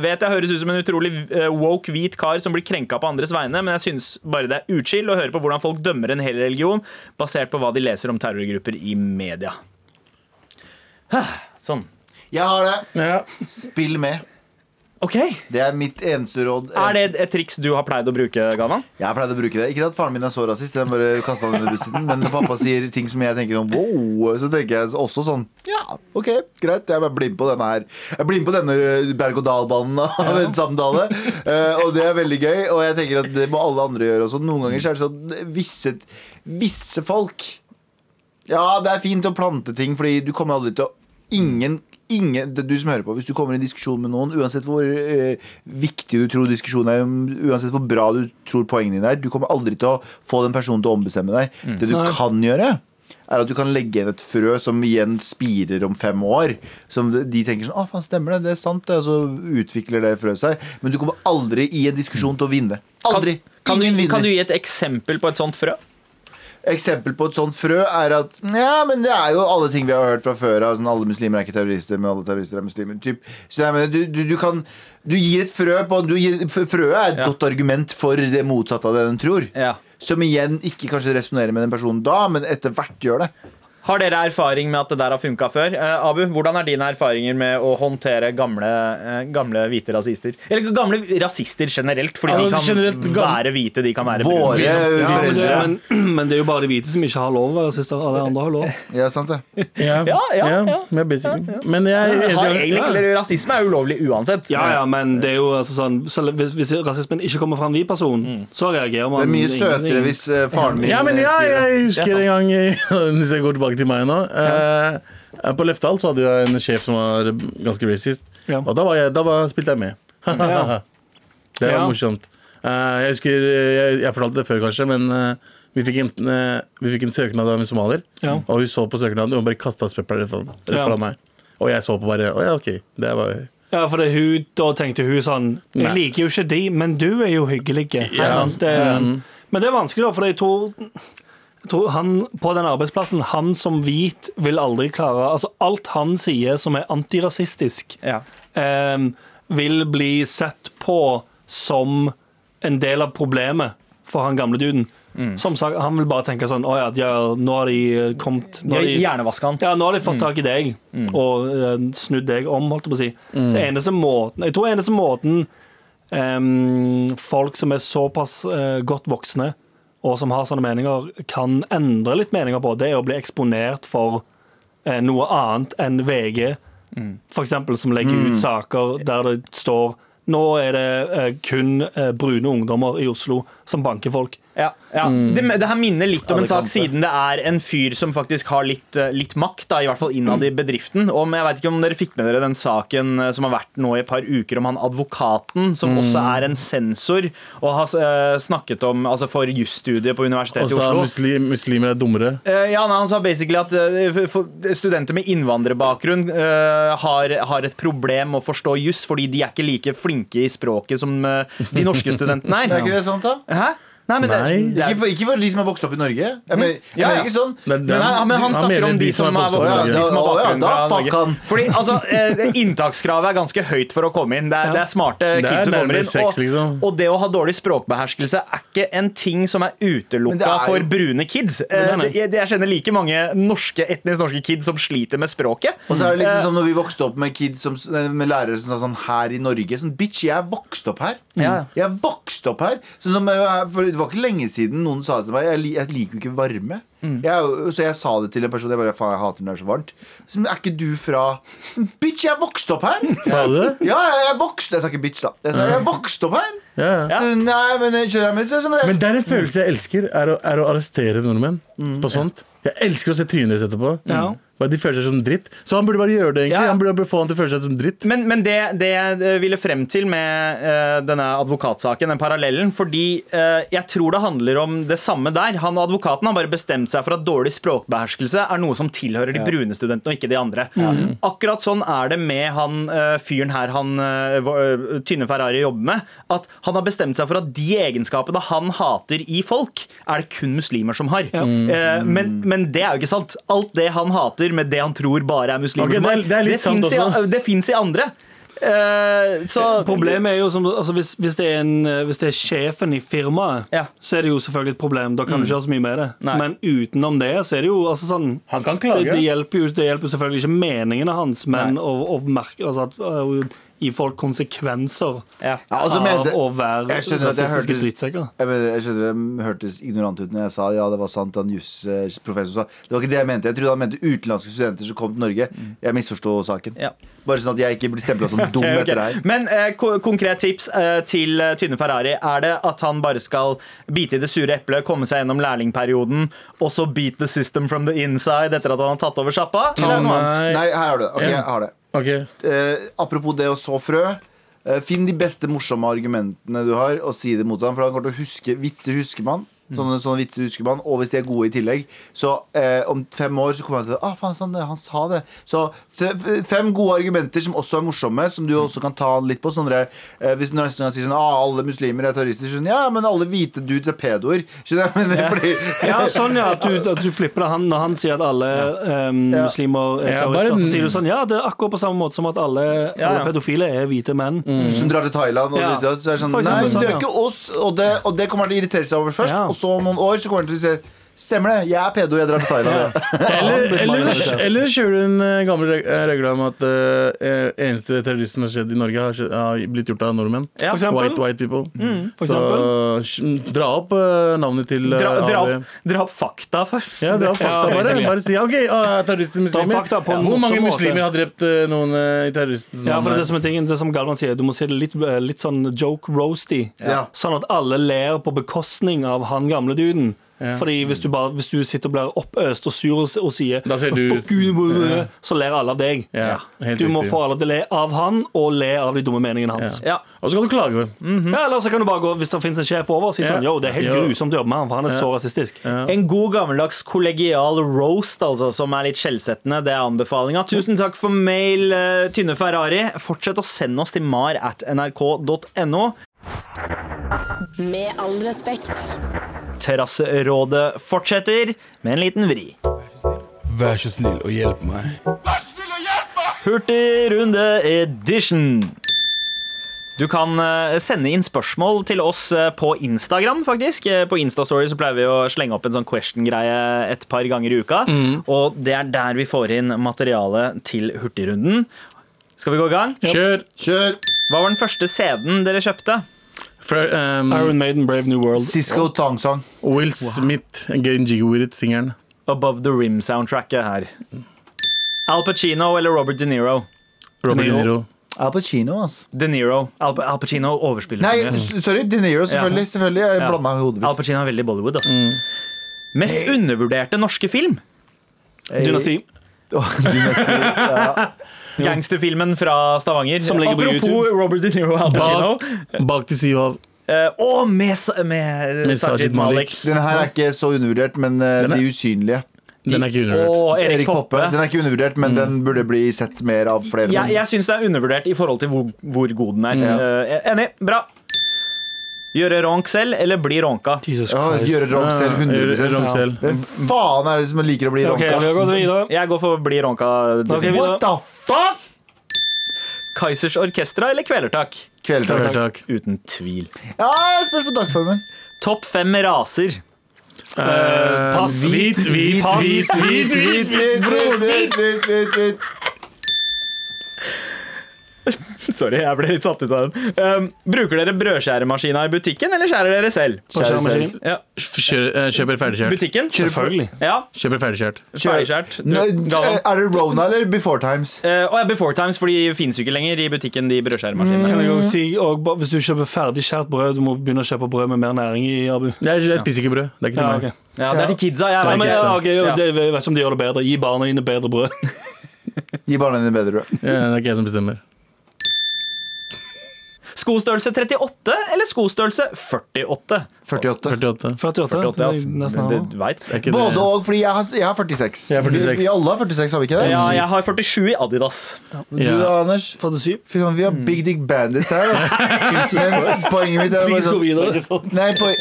Vet jeg høres ut som en utrolig eh, woke hvit kar som blir krenka på andres vegne, men jeg syns bare det er uchill å høre på hvordan folk dømmer en hel religion basert på hva de leser om terrorgrupper i media. Sånn. Jeg har det. Ja. Spill med. OK. Det er mitt eneste råd. Er det et triks du har pleid å bruke, Gavan? Jeg pleide å bruke det. Ikke at faren min er så rasist, den bare kastet han under bussen. Men når pappa sier ting som jeg tenker sånn wow, så tenker jeg også sånn ja, ok, greit. Jeg bare blir med på denne her. Jeg blir med på denne eh, berg-og-dal-banen av en samtale. Eh, og det er veldig gøy. Og jeg tenker at det må alle andre gjøre også. Noen ganger så er det sånn visse, visse folk Ja, det er fint å plante ting, fordi du kommer aldri til å Ingen, ingen det er du som hører på, hvis du kommer i en diskusjon med noen, uansett hvor eh, viktig du tror diskusjonen er, um, uansett hvor bra du tror poengene dine er, du kommer aldri til å få den personen til å ombestemme deg. Mm. Det du Nei. kan gjøre, er at du kan legge igjen et frø som igjen spirer om fem år. Som de tenker sånn Å, faen, stemmer det? Det er sant, det. Og så utvikler det frøet seg. Men du kommer aldri i en diskusjon til å vinne. Aldri! Ingen Kan, kan, du, vinner. kan du gi et eksempel på et sånt frø? Eksempel på et sånt frø er at Ja, men det er jo alle ting vi har hørt fra før av. Sånn, alle muslimer er ikke terrorister, men alle terrorister er muslimer. Typ. Så jeg mener, du, du, du kan Du gir et frø på du gir, Frøet er et Ja. godt argument for det motsatte av det den tror. Ja. Som igjen ikke kanskje resonnerer med den personen da, men etter hvert gjør det. Har dere erfaring med at det der har funka før? Eh, Abu, hvordan er dine erfaringer med å håndtere gamle, eh, gamle hvite rasister? Eller gamle rasister generelt, fordi Ja, de kan generelt gam- være hvite, de kan være brune. Våre men, det, foreldre. men, men det er jo bare de hvite som ikke har lov å være rasister. Alle andre har lov. Ja, sant det. Ja, Ja, ja, ja. men basically. Men jeg, Har eneste gang- egentlig ikke- eller Rasisme er ulovlig uansett. Ja, ja, men det er jo altså sånn så Hvis, hvis rasismen ikke kommer fra en hvit person, så reagerer man. Mm. Det er mye Ingen- søtere hvis eh, faren min Ja, men eh, ja, sier det. jeg husker en gang Hvis jeg går tilbake til meg nå eh, På Leftal så hadde jeg en sjef som var ganske racist Ja. Og da, var jeg, da var, spilte jeg med Ja. Det var Ja. morsomt Eh, Jeg husker, eh, jeg, jeg fortalte det før kanskje Men eh, vi, fikk en, eh, vi fikk en søknad av en somalier Ja. Og hun så på søknaden og hun bare kastet spepper rett foran rett Ja. foran meg Og jeg så på bare, åja ok Det var Ja, for det, hun, da tenkte hun sånn Jeg Nei. liker jo ikke de, men du er jo hyggelig. Ikke Ja. sant? Det, Mm. Men det er vanskelig, da, for jeg tror, jeg tror han på den arbeidsplassen, han som hvit, vil aldri klare Altså, alt han sier som er antirasistisk, Ja. em, vil bli sett på som en del av problemet for han gamle duden. Mm. Som sagt, han vil bare tenke sånn Å ja, ja nå har de kommet nå har de, Hjernevaske han. ja, nå har de fått tak i deg og eh, snudd deg om, holdt jeg på å si. Så eneste måten Jeg tror eneste måten em, folk som er såpass eh, godt voksne, og som har sånne meninger, kan endre litt meninger på, det er å bli eksponert for eh, noe annet enn VG, for eksempel, som legger ut saker der det står nå er det eh, kun eh, brune ungdommer i Oslo som banker folk. Ja, ja. Det, det her minner litt om en sak, Alle kanter. siden det er en fyr som faktisk har litt, eh, litt makt, da, i hvert fall innad i bedriften. Om, jeg vet ikke om dere fikk med dere den saken eh, som har vært nå i et par uker, om han advokaten, som også er en sensor, og har eh, snakket om altså for jusstudiet på Og Universitetet i sa Oslo. muslim, muslimer er dummere Eh, ja, nei, Han sa basically at eh, for- for studenter med innvandrerbakgrunn eh, har, har et problem med å forstå juss, fordi de er ikke like flinke i språket som eh, de norske studentene Er er. ikke det sant, da? Hæ? Nei, men det, Nei. det er, Ikke for, ikke for de som har vokst opp i Norge. Jeg mener, jeg Ja, ja. mener ikke sånn. Men, Men, han- men han snakker mener om de, som er vokst Å, opp i ja, Norge. voksen- de som har da- å, ja, bakgrunn da fra fuck han. Norge. Fordi altså, eh, Inntakskravet er ganske høyt for å komme inn. Det er, det er smarte Det er kids som kommer nærmere inn. seks, og, liksom. og det å ha dårlig språkbeherskelse er ikke en ting som er Men det utelukka er jo- for brune kids. Eh, nei, nei. jeg, jeg kjenner like mange norske, etnisk norske kids som sliter med språket. Og Eh, så er det litt sånn som når vi vokste opp med, kids som, med lærere som sa sånn her i Norge sånn, Bitch, jeg er vokst opp her. Ja. Jeg er vokst opp her. Sånn som, jeg- for det var ikke lenge siden noen sa det til meg. Jeg, li- jeg liker jo ikke varme. Jeg er jo- så jeg sa det til en person. Jeg bare, faen, jeg hater når det er så varmt. Så, er ikke du fra sånn, Bitch, jeg er vokst opp her! Sa du det? Ja, jeg er vokst Jeg sa ikke bitch, da. Jeg sa jeg er vokst opp her. Ja, ja Så, Nei, men jeg skjønner men, så, er det sånn, Men det er en følelse jeg elsker, er å, er å arrestere nordmenn på sånt. Jeg elsker å se trynet deres etterpå. Mm. Mm. Ja. Bare De føler seg som dritt. Så han burde bare gjøre det, egentlig. Ja. Han burde bare få han til å føle seg som dritt. Men, men det, det jeg eh, ville frem til med eh, denne advokatsaken, den parallellen Fordi eh, jeg tror det handler om det samme der. Han og advokaten har bare bestemt seg for at dårlig språkbeherskelse er noe som tilhører de brune studentene og ikke de andre. Akkurat sånn er det med han eh, fyren her han eh, vår- eh, Tynne Ferrari jobber med. At han har bestemt seg for at de egenskapene han hater i folk, er det kun muslimer som har. Mm. Eh, men, men det er jo ikke sant. Alt det han hater med det han tror bare er muslimer Ok, som har, det er- det er litt sant finnes i- også. det fins i andre. Eh, så Problemet er jo som, altså hvis, hvis, det er en, eh, hvis det er sjefen i firmaet, Ja. Mm. så er det jo selvfølgelig et problem. Da kan du ikke gjøre så mye med det. Nei. Men utenom det, så er det jo altså sånn Han kan det, klage. det, hjelper jo, det hjelper jo selvfølgelig ikke meningene hans, men Nei. å, å merke altså at, å gi folk konsekvenser ja. ja, og så av mente- å være Jeg skjønner at jeg rasistiske hørtes- drittsekker. Jeg, mener, jeg skjønner det hørtes ignorant ut når jeg sa ja, det var sant. Han jusprofessoren sa Det var ikke det jeg mente. Jeg trodde han mente utenlandske studenter som kom til Norge. Jeg misforsto saken. Ja. Bare sånn at jeg ikke blir stempla som dum Ok, ok. etter det her. Men eh, ko konkret tips eh, til eh, Tynne Ferrari. Er det at han bare skal bite i det sure eplet, komme seg gjennom lærlingperioden, og så beat the system from the inside etter at han har tatt over sjappa? Eller er det noe annet? Nei. Nei, her har du det. Ok, jeg har det. Ok, Eh, apropos det å så frø. eh, finn de beste morsomme argumentene du har, og si det mot ham. For han kommer til å huske vitser husker man. Sånne, sånne vitser husker man, og hvis de er gode i tillegg. Så eh, om fem år så kommer han til å ah, faen, sånn, det, han sa det. Så f- f- fem gode argumenter som også er morsomme, som du også kan ta litt på. Sånn dere, eh, hvis du neste gang sier sånn ah, alle muslimer er terrorister, så skjønner jeg, ja, men alle hvite dudes er pedoer. Skjønner jeg? Men, fordi, Ja, sånn ja, at du, at du flipper det han, når han sier at alle em, Ja. muslimer er Ja, bare- terrorister. Så sier du sånn, ja, det er akkurat på samme måte som at alle, Ja, ja. alle pedofile er hvite menn. Som drar til Thailand og Ja. dit, så er det sånn, For Nei, eksempel, det er sånn, ja. ikke oss, og det, og det kommer han til å irritere seg over først. Ja. Og så om noen år så kommer han til å si Stemmer det, jeg er pedo, jeg drar til Thailand. Eller, eller, så- eller så kjører hun eh, gamle reg- eh, regler om at eh, eneste terrorisme som har skjedd i Norge, har, skjedd, har blitt gjort av nordmenn. Ja. For eksempel. Mm. White, white people. for så sh- dra opp eh, navnet til eh, Dra, dra, alle- opp, dra opp fakta først. Ja, dra opp fakta, Ja, bare. basically. Bare si OK, ah, terrorister muslimer. fakta på en Hvor mange morsom måte. muslimer har drept eh, noen eh, i terroristens Ja, for det er det navn? som er tingen, det er som Galvan sier, du må si det litt, eh, litt sånn joke roasty. Ja. Sånn at alle ler på bekostning av han gamle duden. Fordi hvis du, bare, hvis du sitter og blir oppøst og sur og, s- og sier Da ser du- «Fuck you», blah, blah, blah», så ler alle av deg. Ja, helt Du må riktig. få alle til å le av han og le av de dumme meningene hans. Ja. Ja. Og så kan du klage. Mm, Mhm. eller så kan du bare gå, Hvis det finnes en sjef over, si Ja. sånn Yo, det er helt Jo. grusomt å jobbe med han, for han er så rasistisk. En god gammeldags kollegial roast, altså, som er litt skjellsettende. Det er anbefalinga. Tusen takk for mail, eh, Tynne Ferrari. Fortsett å sende oss til mar at nrk.no. Med all respekt. Terrasserådet fortsetter med en liten vri. Vær så snill og hjelp meg. Hurtigrunde edition. Du kan eh, sende inn spørsmål til oss eh, på Instagram, faktisk. Eh, På Instastory så pleier vi å slenge opp en sånn question-greie et par ganger i uka. Og det er der vi får inn materiale til Hurtigrunden. Skal vi gå i gang? Kjør! Kjør! Hva var den første CD-en dere kjøpte? Fra, ehm, Iron Maiden, Brave New World. Sisko Tangsang. Will Smith, Game Jiggy With It, singeren. Above the Rim-soundtracket her. Al Pacino eller Robert De Niro? Robert De De Niro. Niro. Al Pacino, altså. De Niro. Al, Al Pacino overspiller. Nei, så mye. s- sorry, De Niro, selvfølgelig. selvfølgelig. Jeg Ja. blanda hodet Al mitt. Pacino er veldig Bollywood, altså. Mest undervurderte norske film? Dynasti. Åh, de neste- Gangsterfilmen fra Stavanger. Som ligger på Apropos YouTube. Robert De Niro og Al Pacino. Bak, bak til Sea Hav. Eh, og med, Sa- med, Med Sajid Sajid Malik. Malik. Denne her er ikke så undervurdert, men eh, Den er- De usynlige. Den er ikke undervurdert. Og Erik, Poppe. Den er ikke undervurdert, men den burde bli sett mer av flere. Jeg, jeg syns det er undervurdert i forhold til hvor, hvor god den er. Eh, enig. Bra. Gjøre ronk selv, eller bli ronka? Jesus ja, Christ. Ah, gjøre ronk selv eh, 100 Ronk selv. Hvem faen er det som liker å bli OK, vi har ronka? gått videre. Jeg går for bli ronka. Ok, vi- What the fuck? Kaizers Orkestra eller Kvelertak? Kvelertak. Takk. Uten tvil. Ja, spørs på dagsformen. Topp fem raser. Eh, pass. Hvit, hvit, Pass. hvit, hvit, hvit, hvit, hvit. hvit, hvit, hvit, hvit. Sorry, jeg ble litt satt ut av den. Eh, bruker dere brødskjæremaskina i butikken, eller skjærer dere selv? Kjære selv. Skjæremaskin. Ja. Kjør- eh, Kjøper ferdigskjært. Butikken? Selvfølgelig. Ja, Kjøper ferdigskjært. Kjør. Skjært. Du, Nå, Galvan. Er det Rona eller Before Times? Eh, og ja, Before Times, for de fins jo ikke lenger i butikken, de brødskjæremaskinene. Kan jeg Mm. også si, og ba- Hvis du kjøper ferdig skjært brød, du må begynne å kjøpe brød med mer næring i. Abu Jeg, jeg spiser ikke brød. Det er ikke til Ja, meg. ok. Ja, det er de kidsa. Jeg Nei, men, vet ja, ok, ikke. jo, Ja. det, jeg vet ikke om de gjør det bedre. Gi barna dine bedre brød. Gi barna dine bedre brød. Eh, Det er ikke jeg som bestemmer. Skostørrelse 38 eller skostørrelse 48? 48. 48. 48. 48 ass. Sånn, Nesten Du, halve. du vet. Det er ikke Både det. og, fordi jeg har, jeg har 46. Jeg har 46. Vi, vi alle har 46, har vi ikke det? Ja, jeg har 47 i Adidas. Du Ja. da, Anders? 47. Fy faen, vi har Big Dick Bandits her. Altså. Men poenget mitt er Vi bare skal sånn videre. Nei, poen-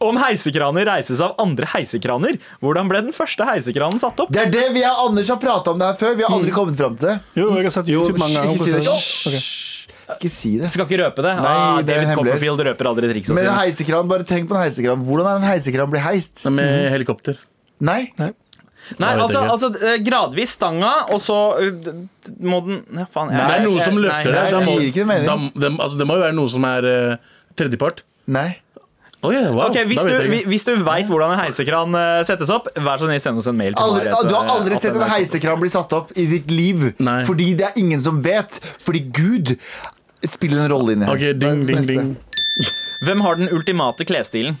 Om heisekraner reises av andre heisekraner, hvordan ble den første heisekranen satt opp? det er det vi og Anders har prata om det her før. Vi har aldri kommet fram til det. Jo, jeg har sett Jo, YouTube mange hysj, ganger. ikke si det. hvordan- Hysj. Ikke si det. Skal ikke røpe det. Nei, ah, det er en David hemmelighet. Copperfield røper aldri triksa Men en sine. heisekran, bare tenk på en heisekran. Hvordan er en heisekran blir heist? Det er Med helikopter. Nei. Nei. Nei, Jeg vet altså, ikke. altså eh, gradvis stanga, og så eh, d- d- må den ja, faen, jeg, Det er noe som jeg- løfter nei. det. så det må- gir ikke mening. Da, det, altså, det må jo være noe som er eh, tredjepart. Nei. Å ja, wow. Ok, hvis da du, vet jeg hvi- ikke. hvis du veit hvordan en heisekran eh, settes opp, vær så snill, send oss en mail. til Aldri, Marit, du har eh, aldri at sett den en er- heisekran bli satt opp i ditt liv. Nei. Fordi det er ingen som vet. Fordi Gud spiller en rolle inni her. Ok, ding, ding, Neste. ding. Hvem har den ultimate klesstilen?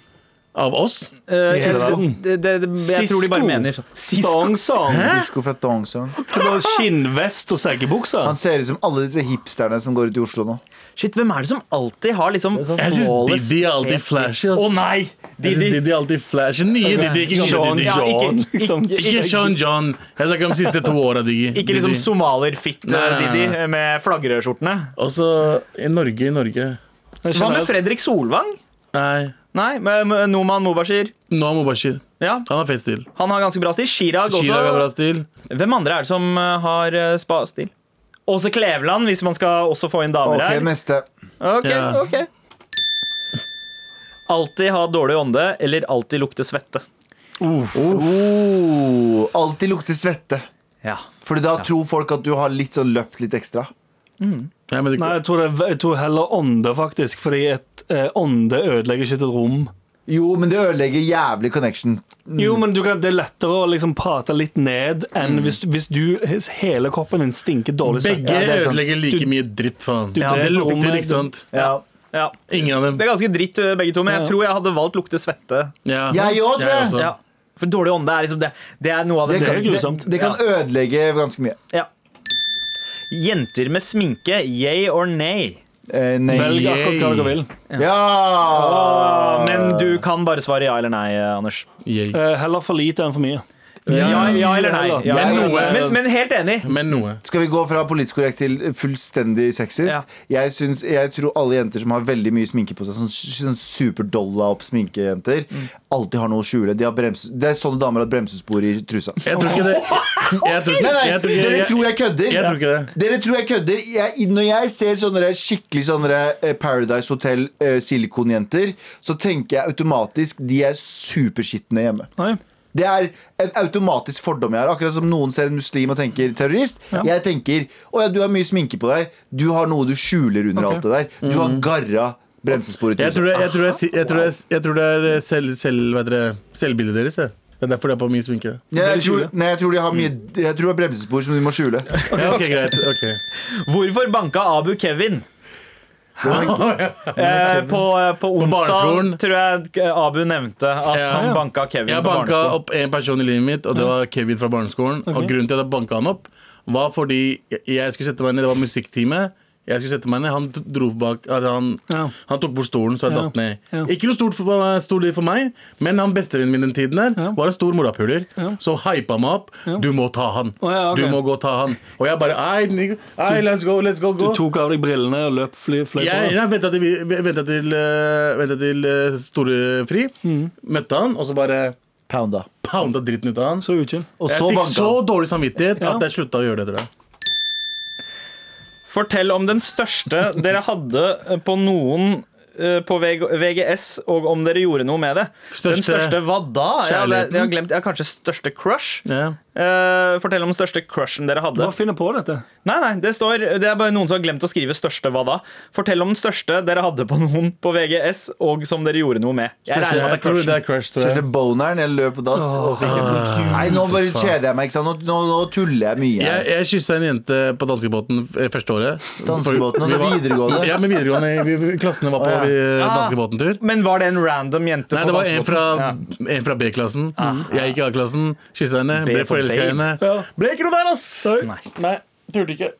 Av oss? Eh, jeg- Sisko. det, det, det, jeg tror de bare Sisko. mener sånn. Sisko. Dong song. Sisko fra Thongson. Bare Skinnvest og seggebukser. Han ser ut som alle disse hipsterne som går ut i Oslo nå. Shit, hvem er det som alltid har liksom Jeg syns flawless- Didi er alltid flashy. Ass. Å nei! Jeg synes Didi. Didi er alltid flashy. Nye Didi, ikke gamle Sean Didi. Ja, John, ikke- liksom. Ikke Sean John. Jeg snakker om de siste to åra, Digi. Ikke liksom Didi. Nei, nei, nei, somalerfitt-Didi nei. med flaggerødskjortene. Også i Norge, i Norge. Hva med Fredrik Solvang? Nei. Nei, med med Noman Mubashir. Noam Mubashir. Ja, Han har feststil. Han har ganske bra stil. Chirag også. Chirag har bra stil. Hvem andre er det som eh, har eh, spa-stil? Åse Kleveland, hvis man skal også få inn damer Ok, her. neste. Ok, Ja. ok Alltid ha dårlig ånde eller alltid lukte svette. Oh, alltid lukter svette. Ja. Fordi da tror folk at du har litt sånn løpt litt ekstra. Nei, men det, Nei, jeg tror, det, jeg tror heller ånde, faktisk. Fordi et eh, ånde ødelegger ikke et rom. Jo, men det ødelegger jævlig connection. Jo, men du kan, det er lettere å liksom prate litt ned enn hvis, hvis du hele kroppen din stinker dårlig svette. Mm. Ja, begge det er sant. ødelegger like Du- mye dritt, faen. du Ja, det deler rommet, lukter, ikke sant? Ja. ja. Ingen av dem. Det er ganske dritt, eh, begge to, men jeg tror jeg hadde valgt lukte svette. Ja. Jeg òg, tror jeg. også. Ja. For dårlig ånde er liksom det, det er noe av det, Det kan, er det, grusomt. det kan ødelegge ganske mye. Ja. Jenter med sminke, yay or nay? Eh, nei. Velg akkurat hva dere vil. Ja! Ah, Men du kan bare svare ja eller nei, eh, Anders. Yay. Eh, heller for lite enn for mye. Ja, ja eller nei. Heller. Ah. Ja, Men eller noe- nei. men, men helt enig. Men noe. Skal vi gå fra politisk korrekt til fullstendig sexist? Ja. Jeg, syns, jeg tror alle jenter som har veldig mye sminke på seg, sånn, sånn superdolla opp sminkejenter, Mm. alltid har noe å skjule. De har brems, det er sånne damer har bremsespor i trusa. Jeg tror ikke det. Jeg tror Nei, ikke, nei, jeg tror ikke, dere jeg, tror jeg kødder! jeg tror ikke det. Dere tror jeg kødder. Jeg, når jeg ser sånne der skikkelig sånne der, eh, Paradise Hotel eh, silikonjenter, så tenker jeg automatisk de er superskitne hjemme. Nei. Det er en automatisk fordom jeg har. Akkurat som noen ser en muslim og tenker terrorist. Jeg tenker å ja, du har mye sminke på deg. Du har noe du skjuler under alt det der. Du har garra bremsespor i Mm. Jeg tror trusa. det, jeg tror det, er si- jeg tror det, er- jeg tror det er eh, selv, selv, hva heter det, selvbildet deres. jeg. Det er derfor det er på mye sminke. Jeg det tror, skjuler. nei, jeg tror de har mye Jeg tror det er bremsespor som de må skjule. Ja, ok, greit. ok Hvorfor banka Abu Kevin? Eh, på, på onsdag barneskolen. tror jeg eh, Abu nevnte at Ja. han banka Kevin Jeg på banka barneskolen. opp en person i livet mitt, og det var Kevin fra barneskolen. Og grunnen til at jeg banka han opp, var fordi jeg- jeg skulle sette meg ned. Det var musikktime. Jeg skulle sette meg ned, Han dro bak altså han, Ja. han tok bort stolen, så jeg Ja. datt ned. Ja. Ikke noe stort for, stor liv for meg, men han bestevennen min den tiden der Ja. var en stor morapuler. Ja. Så hypa han meg opp. Du må ta han. Å, ja, ok. Du må gå og ta han. Og jeg bare Ei, nigga. ei let's go, let's go, Du go. tok av deg brillene og løp fly, fløy på. Jeg, det. jeg venta til, vi- vi- ventet til, eh, ventet til eh, storefri. Møtte han, og så bare Pounda. pounda dritten ut av han. Så uchill. Og Jeg så fikk banka så han. dårlig samvittighet Ja. at jeg slutta å gjøre det. Tror jeg. Fortell om den største dere hadde eh, på noen eh, på VG VGS, og om dere gjorde noe med det. den Største største hva da? Jeg har, kjærligheten. jeg har glemt, jeg har kanskje største crush. Ja. Eh, fortell om den største crushen dere hadde. Bare finne på dette. Nei, nei, det, står, det er bare noen som har glemt å skrive 'største hva da'. Fortell om den største dere hadde på noen på VGS, og som dere gjorde noe med. Jeg regner med Jeg at det er tror det crushen. er crush. Tror Kjørte jeg. boneren, jeg løp på dass og fikk en Nei, nå bare kjeder jeg meg. Ikke sant? Nå, nå, nå tuller jeg mye. Jeg, jeg kyssa en jente på danskebåten f- eh, første året. Danskebåten, Vi altså var- videregående. Ja, men videregående. Vi, vi, klassene var på Å, ja. vi, eh, Ah. danskebåten-tur. Men var det en random jente? Nei, på det var en dansebåten? fra, Ja. en fra B-klassen. Jeg gikk i A-klassen, kyssa henne, B ble for forelska i babe. henne. Ble ikke noe der, ass! Nei, Nei turte ikke.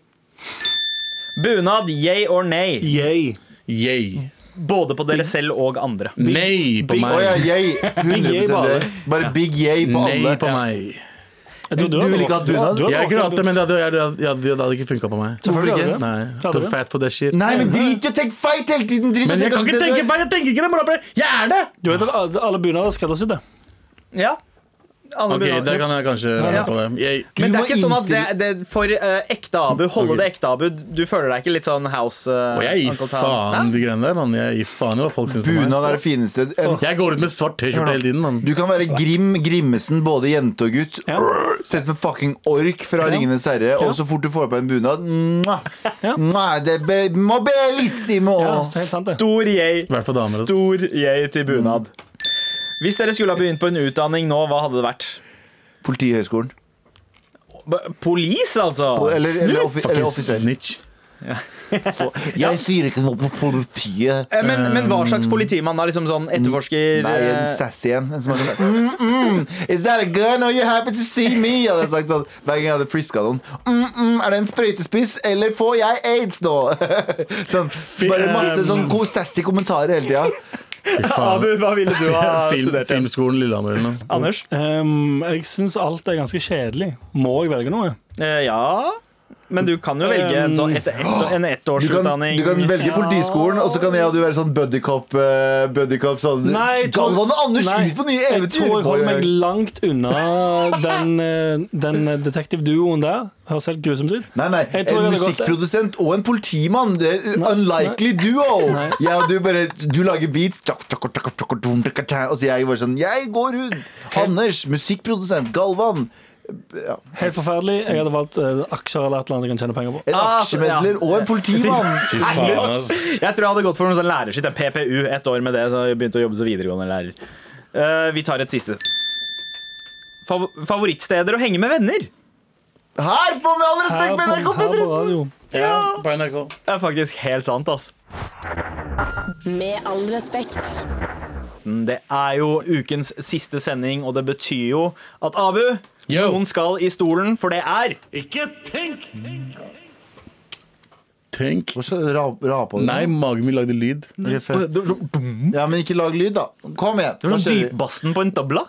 Bunad, yay or nay? Yay. Yay. Både på dere selv og andre. Nei på Å ja, meg. yay. 100 yay på alle. det. Bare big yay på Nei alle. på meg. Jeg tror Du- du hadde vil valgt- ikke ha bunad? du hadde Jeg valgt- kunne hatt det, men det hadde, jeg- jeg- jeg- det hadde ikke funka på meg. Selvfølgelig Hvorfor hadde ikke? det. Nei, Hadde Too det? fat for that shit. Nei, men drit i å tenke feit hele tiden! Drit i å Men jeg kan at ikke det- tenke feil! Jeg tenker ikke altså, det! morapuler. Jeg er det! Du vet at alle bunader er skreddersydde. Ja. Alle Ok, bunader. der kan jeg kanskje Ja. ja. på det. Jeg, Men det må er ikke sånn at det, innstille- det For eh, ekte Abu, holde det ekte Abu, du føler deg ikke litt sånn house uh, og jeg gir faen de greiene der, mann. Jeg gir faen i hva folk syns om meg. Bunad er det fineste. En, Jeg går ut med svart T-skjorte hele tiden, mann. du kan være Grim Grimmesen, både jente og gutt. Ja. Se ut som en fucking ork fra Ringenes herre, og så fort du får på en bunad mwah, mwah, Det er be- må bellissimo! Ja, det er helt sant det. Stor yay. I hvert fall damer. altså. ass. Stor yay til bunad. Mm. Hvis dere skulle ha begynt på en utdanning nå, hva hadde det vært? Politihøgskolen. B- Polis, altså? Eller, eller, Snutt! offi, eller offiser. Snitch. Jeg sier ikke noe på politiet. Eh, Men, men hva slags politimann da? Liksom sånn etterforsker Um, Nei, en eh, sassy en. en som er sånn, mm, mm, Is that a gun? Are you happy to see me? Hadde jeg sagt sånn hver gang jeg hadde friska noen. Mm, mm, er det en sprøytespiss, eller får jeg aids nå? sånn, bare masse sånn god sassy kommentarer hele tida. Fy faen. Abu, hva ville du ha Film, studert? til? filmskolen Lillehammer eller noe. Anders? Ehm, jeg syns alt er ganske kjedelig. Må jeg velge noe? Eh, ja men du kan jo velge en, sånn et, et, en Du kan, ettårsutdanning. du kan velge Ja. politiskolen, og så kan jeg og du være sånn buddycop. eh, buddycop sånn. Nei, jeg tror- Galvan og Anders Nei, ut på nye Jeg eventyr! tror jeg Oi, holder oi, meg oi. langt unna den, eh, den eh, detektivduoen der. Høres helt grusomt ut. Nei, nei, Jeg tror jeg En hadde gått- musikkprodusent og en politimann. Det er unlikely duo! Jeg og du bare Du lager beats, tjokk, tjokk, tjokk, tjokk, dum, tjokk, tjokk, og så jeg bare sånn Jeg går rundt! Anders, musikkprodusent. Galvan. Helt forferdelig. Jeg hadde valgt eh, aksjer eller et eller annet jeg kan tjene penger på. En Ah, så- ja. aksjemedler og en politimann. Fy faen, ass. Jeg tror jeg hadde gått for noe sånn lærerskitt. ja, PPU, ett år med det, så jeg begynte å jobbe som videregående lærer. Eh, vi tar et siste. Fav favorittsteder å henge med venner. Her på Med all respekt på Her NRK på- her på P13! radio. Ja, på NRK. Det er faktisk helt sant, ass. Med all respekt. Det er jo ukens siste sending, og det betyr jo at Abu, Yo. noen skal i stolen, for det er Tenk. Hva slags rap- rapa du? Nei, magen min lagde lyd. Ok, fett. Ja, men ikke lag lyd, da. Kom igjen. Det var Hva sånn skjer? dypbassen på en tabla.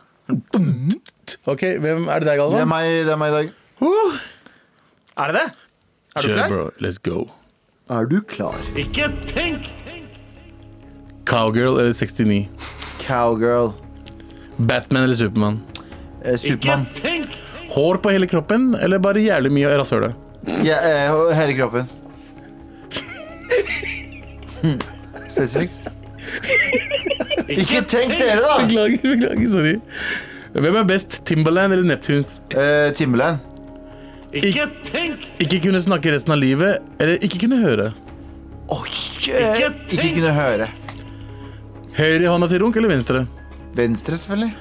Ok, hvem er det deg, Det er Galvan? meg, det er meg i dag. Er det det? Er du Kjør, klar? bro. Let's go. Er du klar? Cowgirl eller 69? Cowgirl. Batman eller Supermann? Eh, Supermann. Hår på hele kroppen eller bare jævlig mye av rasshølet? Ja, eh, hele kroppen. Hmm. Spesifikt. Ikke tenk dere, da! Beklager, beklager, sorry. Hvem er best, Timbaland eller Neptunes? Eh, Timberland. Ikke kunne snakke resten av livet, eller ikke kunne høre? Oi, eh, ikke kunne høre. Høyre i hånda til runk eller venstre? Venstre, selvfølgelig.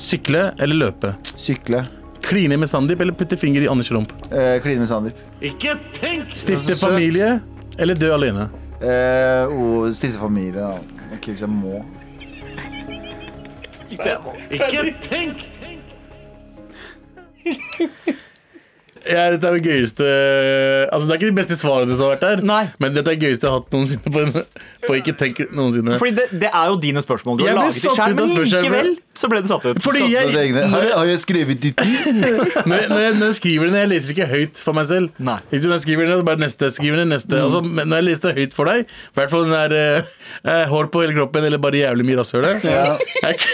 Sykle eller løpe? Sykle. Kline med Sandeep eller putte finger i Anders rump? Eh, Kline med Sandeep. Stifte Det Altså, var så søt. familie eller dø alene? Eh, oh, Stifte familie, da. Ok, hvis jeg må. Ja, dette er det gøyeste Altså, det er ikke de beste svarene som har vært der, Nei. men dette er det gøyeste jeg har hatt noensinne på, en, på Ikke tenk noensinne. Fordi det, det er jo dine spørsmål. Du Jeg har ble laget det satt selv, ut av men spørsmålet. likevel så ble du satt ut. Fordi Så- jeg- Hva tenker dere? Har, har jeg skrevet ditt liv? når, jeg, når, jeg, når jeg skriver det ned, jeg leser ikke høyt for meg selv. Nei. Ikke sant, jeg skriver det ned, så bare neste, skriver det ned, neste. Og så, Mm. men når jeg leser det høyt for deg, i hvert fall den der eh, eh, hår på hele kroppen eller bare jævlig mye rasshølet jeg,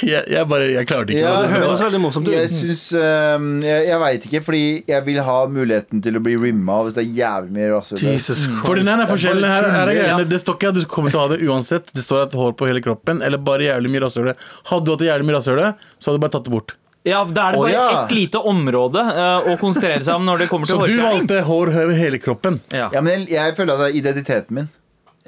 jeg, jeg bare Jeg klarer det ikke. Ja, Det men- høres veldig morsomt Jeg ut. syns ehm, Jeg, jeg veit ikke, fordi jeg vil ha muligheten til å bli rimma hvis det er jævlig mye rasshøl. For den her er forskjellen. Her, her er tuller, greiene. Det står ikke at du kommer til å ha det uansett. Det står at hår på hele kroppen eller bare jævlig mye rasshøle. Hadde du hatt det jævlig mye rasshøle, så hadde du bare tatt det bort. Ja, Da er det Å, bare ja. ett lite område eh, å konsentrere seg om når det kommer Så til du hårfjerning. valgte hår over hele kroppen. Ja. Ja, men jeg, jeg føler at det er identiteten min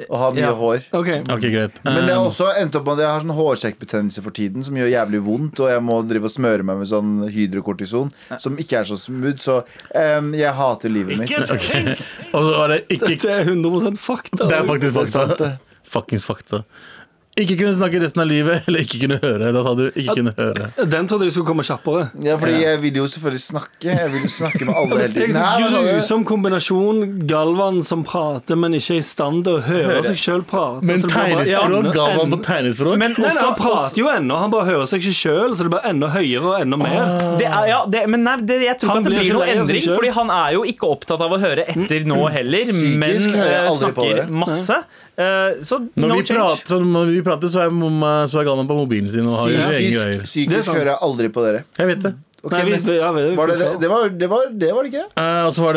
å ha mye Ja. hår. Ok, Ok, greit. Men det Eh, har Um. også endt opp med at jeg har sånn hårsekkbetennelse for tiden som gjør jævlig vondt, og jeg må drive og smøre meg med sånn hydrokortison som ikke er så smooth, så ehm, jeg hater livet mitt. Eh, Og så var det ikke Det er 100 fakta. Det er Det faktisk er fakta. sant, det. Fuckings fakta. Ikke kunne snakke resten av livet, eller ikke kunne høre. Da sa du ikke kunne høre. Den trodde jeg skulle komme kjappere. Ja, fordi jeg vil jo selvfølgelig snakke. Jeg vil jo snakke med alle hele Tenk så tiden. Her, hva sa du? grusom kombinasjon. Galvan som prater, men ikke er i stand til å høre seg sjøl prate. Men så det blir bare tegnespråk enda- ga man enda- på tegnespråk. Men Nei, nei, også han prater jo ennå, han bare hører seg ikke sjøl, så det blir enda høyere og enda mer. Det er, ja, det, men nei, det, jeg tror Han ikke at det blir ikke blir noe lei av seg endring, selv. fordi han er jo ikke opptatt av å høre etter nå heller, Mm, Psykisk men hører jeg eh, aldri på dere. snakker masse. Eh, så når, no vi prater, change. så, når vi prater, så er, mamma, så er Galvan på mobilen sin og har sine egne Psykisk, greier. Det er psykisk sant. hører jeg aldri på dere. Jeg vet det. Ok, Nei, vi- neste. ja, vi- vi- var det, det, det, var, det, var, det var det ikke? Eh, og så var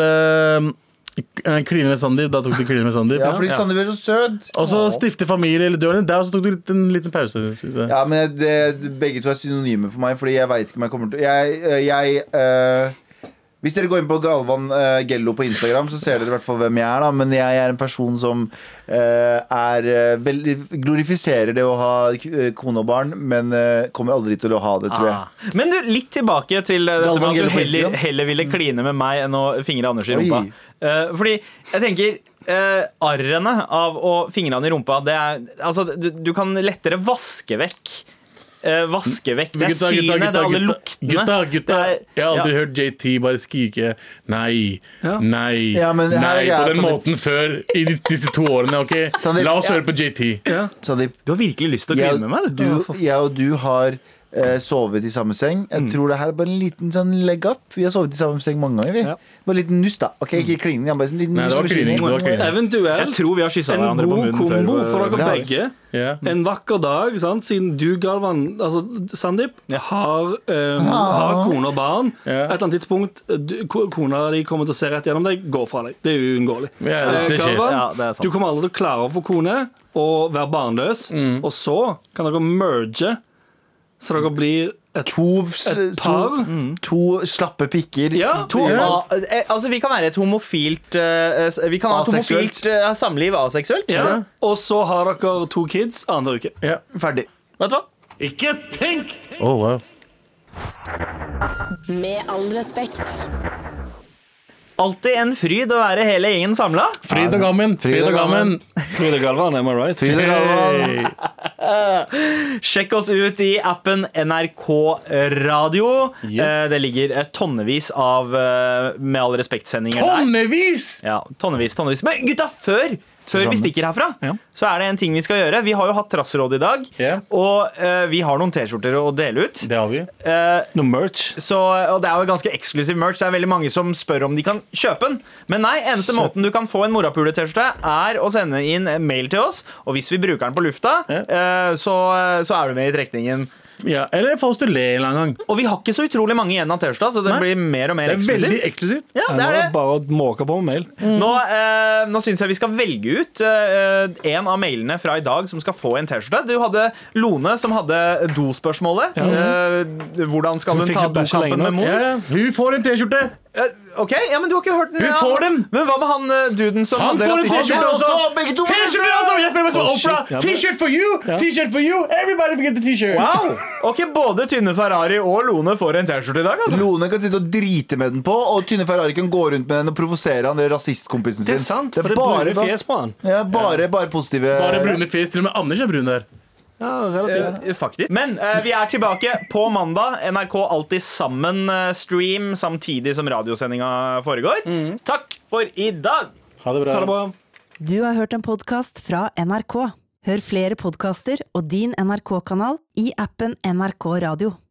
det eh, Kline med Sandeep. Da tok du kline med Sandeep. Ja, fordi Sandeep er så søt. Og så stifte familie eller døren. Der også tok du litt, en liten pause. Synes jeg. Ja, men det, begge to er synonyme for meg, fordi jeg veit ikke om jeg kommer til Jeg, øh, jeg øh, Hvis dere går inn på Galvan øh, Gello på Instagram, så ser dere i hvert fall hvem jeg er, da. Men jeg er en person som øh, er øh, veldig Glorifiserer det å ha k- øh, kone og barn, men øh, kommer aldri til å ha det, tror jeg. Ah. Men du, litt tilbake til eh, dette Galvan med at Gjelder du på Instagram. heller, heller ville kline med meg enn å fingre Anders i Mm. Oi. rumpa. Eh, fordi jeg tenker eh, Arrene av å fingre han i rumpa det er, altså, du, du kan lettere vaske vekk. eh, vaske vekk. Det er Gutta, gutta, synet, det gutta, er alle gutta. luktene. Gutta, gutta. Det er- Jeg har aldri ja. hørt JT bare skrike nei, Ja. nei, Ja, men her er nei på greia, den Sandeep. måten før i disse to årene. ok? Sandeep, La oss ja. høre på JT. Sandeep, Du har virkelig lyst til å jeg, kline med meg. du. du, jeg og du har eh, sovet i samme seng. Mm. Jeg tror det her er bare en liten sånn leg up. Vi har sovet i samme seng mange ganger, vi. Ja. Mm. Bare en liten nuss, da. Ok, ikke klining. men bare en liten Nei, det nuss var på klining. Det kinnet. var klining. Jeg Eventuelt tror vi har kyssa en hverandre på god munnen kombo før. eh, for dere Ja. begge. Ja. En vakker dag, sant? siden du, Galvan Altså, Sandeep har, eh, har kone og barn. Ja. Et eller annet tidspunkt eh, du, ko- kona di kommer til å se rett gjennom deg, gå fra deg. Det er uunngåelig. Ja, det- Eh, det skjer. Galvan, Ja, det er sant. du kommer aldri til å klare å få kone og være barnløs. Og så kan dere merge, så dere blir et, To, s- et to, mm. par. to slappe pikker. Ja, To, Ja. ah, eh, altså, vi kan være et homofilt eh, s- Vi kan ha et Aseksuelt. homofilt eh, samliv aseksuelt. Ja. Og så har dere to kids annenhver uke. Ja. Ferdig. Vet du hva? Oh, wow. Med all respekt. Alltid en fryd å være hele gjengen samla. Fryd og gammen. Fryd og gammen. Frode Galvan, am I right? Fryd og gammen. Hey. Sjekk oss ut i appen NRK Radio. Yes. Eh, det ligger eh, tonnevis av eh, Med all respekt-sendinger der. Tonnevis! Ja, tonnevis, tonnevis. Men gutta, før, før vi stikker herfra, Ja. så er det en ting vi skal gjøre. Vi har jo hatt trassråd i dag, Ja. og eh, vi har noen T-skjorter å dele ut. Det har vi. Eh, Noe merch. så, og Det er jo ganske eksklusiv merch. Det er veldig mange som spør om de kan kjøpe den. Men nei, eneste måten du kan få en morapule-T-skjorte, er å sende inn en mail til oss. Og hvis vi bruker den på lufta, eh, så, så er du med i trekningen. Ja, eller få oss til å le en eller annen gang. Og vi har ikke så utrolig mange igjen av T-skjorta, så det Nei. blir mer og Det mer er eksklusivt. veldig eksklusivt. Ja, Nå er det er det. det bare å måke på med mail. Nå, eh, nå syns jeg vi skal velge ut eh, en av mailene fra i dag som skal få en T-skjorte. Du hadde Lone som hadde dospørsmålet. Eh, hvordan skal Hun hun fikk ta ikke bæsje lenge dokampen nok. med mor? Ja, hun får en T-skjorte! Eh, ok, ja, men du har ikke hørt den. Hun ja. får den. Men hva med han eh, duden som Han hadde får en rasistisk- T-skjorte også! også, altså! begge to får det. T-skjorte også! Jeg føler meg som Å, shit. Ja, Opera. men- T-shirt for you! T-shirt for you! Everybody forget the T-shirt. Wow! Ok, både Tynne Ferrari og Lone får en T-skjorte i dag, altså. Lone kan sitte og drite med den på, og Tynne Ferrari kan gå rundt med den og provosere han der rasistkompisen sin. Det er sant, for det er brune fjes på han. Ja, bare, bare positive Bare brune fjes. Til og med Anders er brun der. Ja, relativt. Eh, Faktisk. Men eh, vi er tilbake på mandag. NRK Alltid Sammen-stream samtidig som radiosendinga foregår. Mm. Takk for i dag! Ha det bra. Ha det bra. Du har hørt en podkast fra NRK. Hør flere podkaster og din NRK-kanal i appen NRK Radio.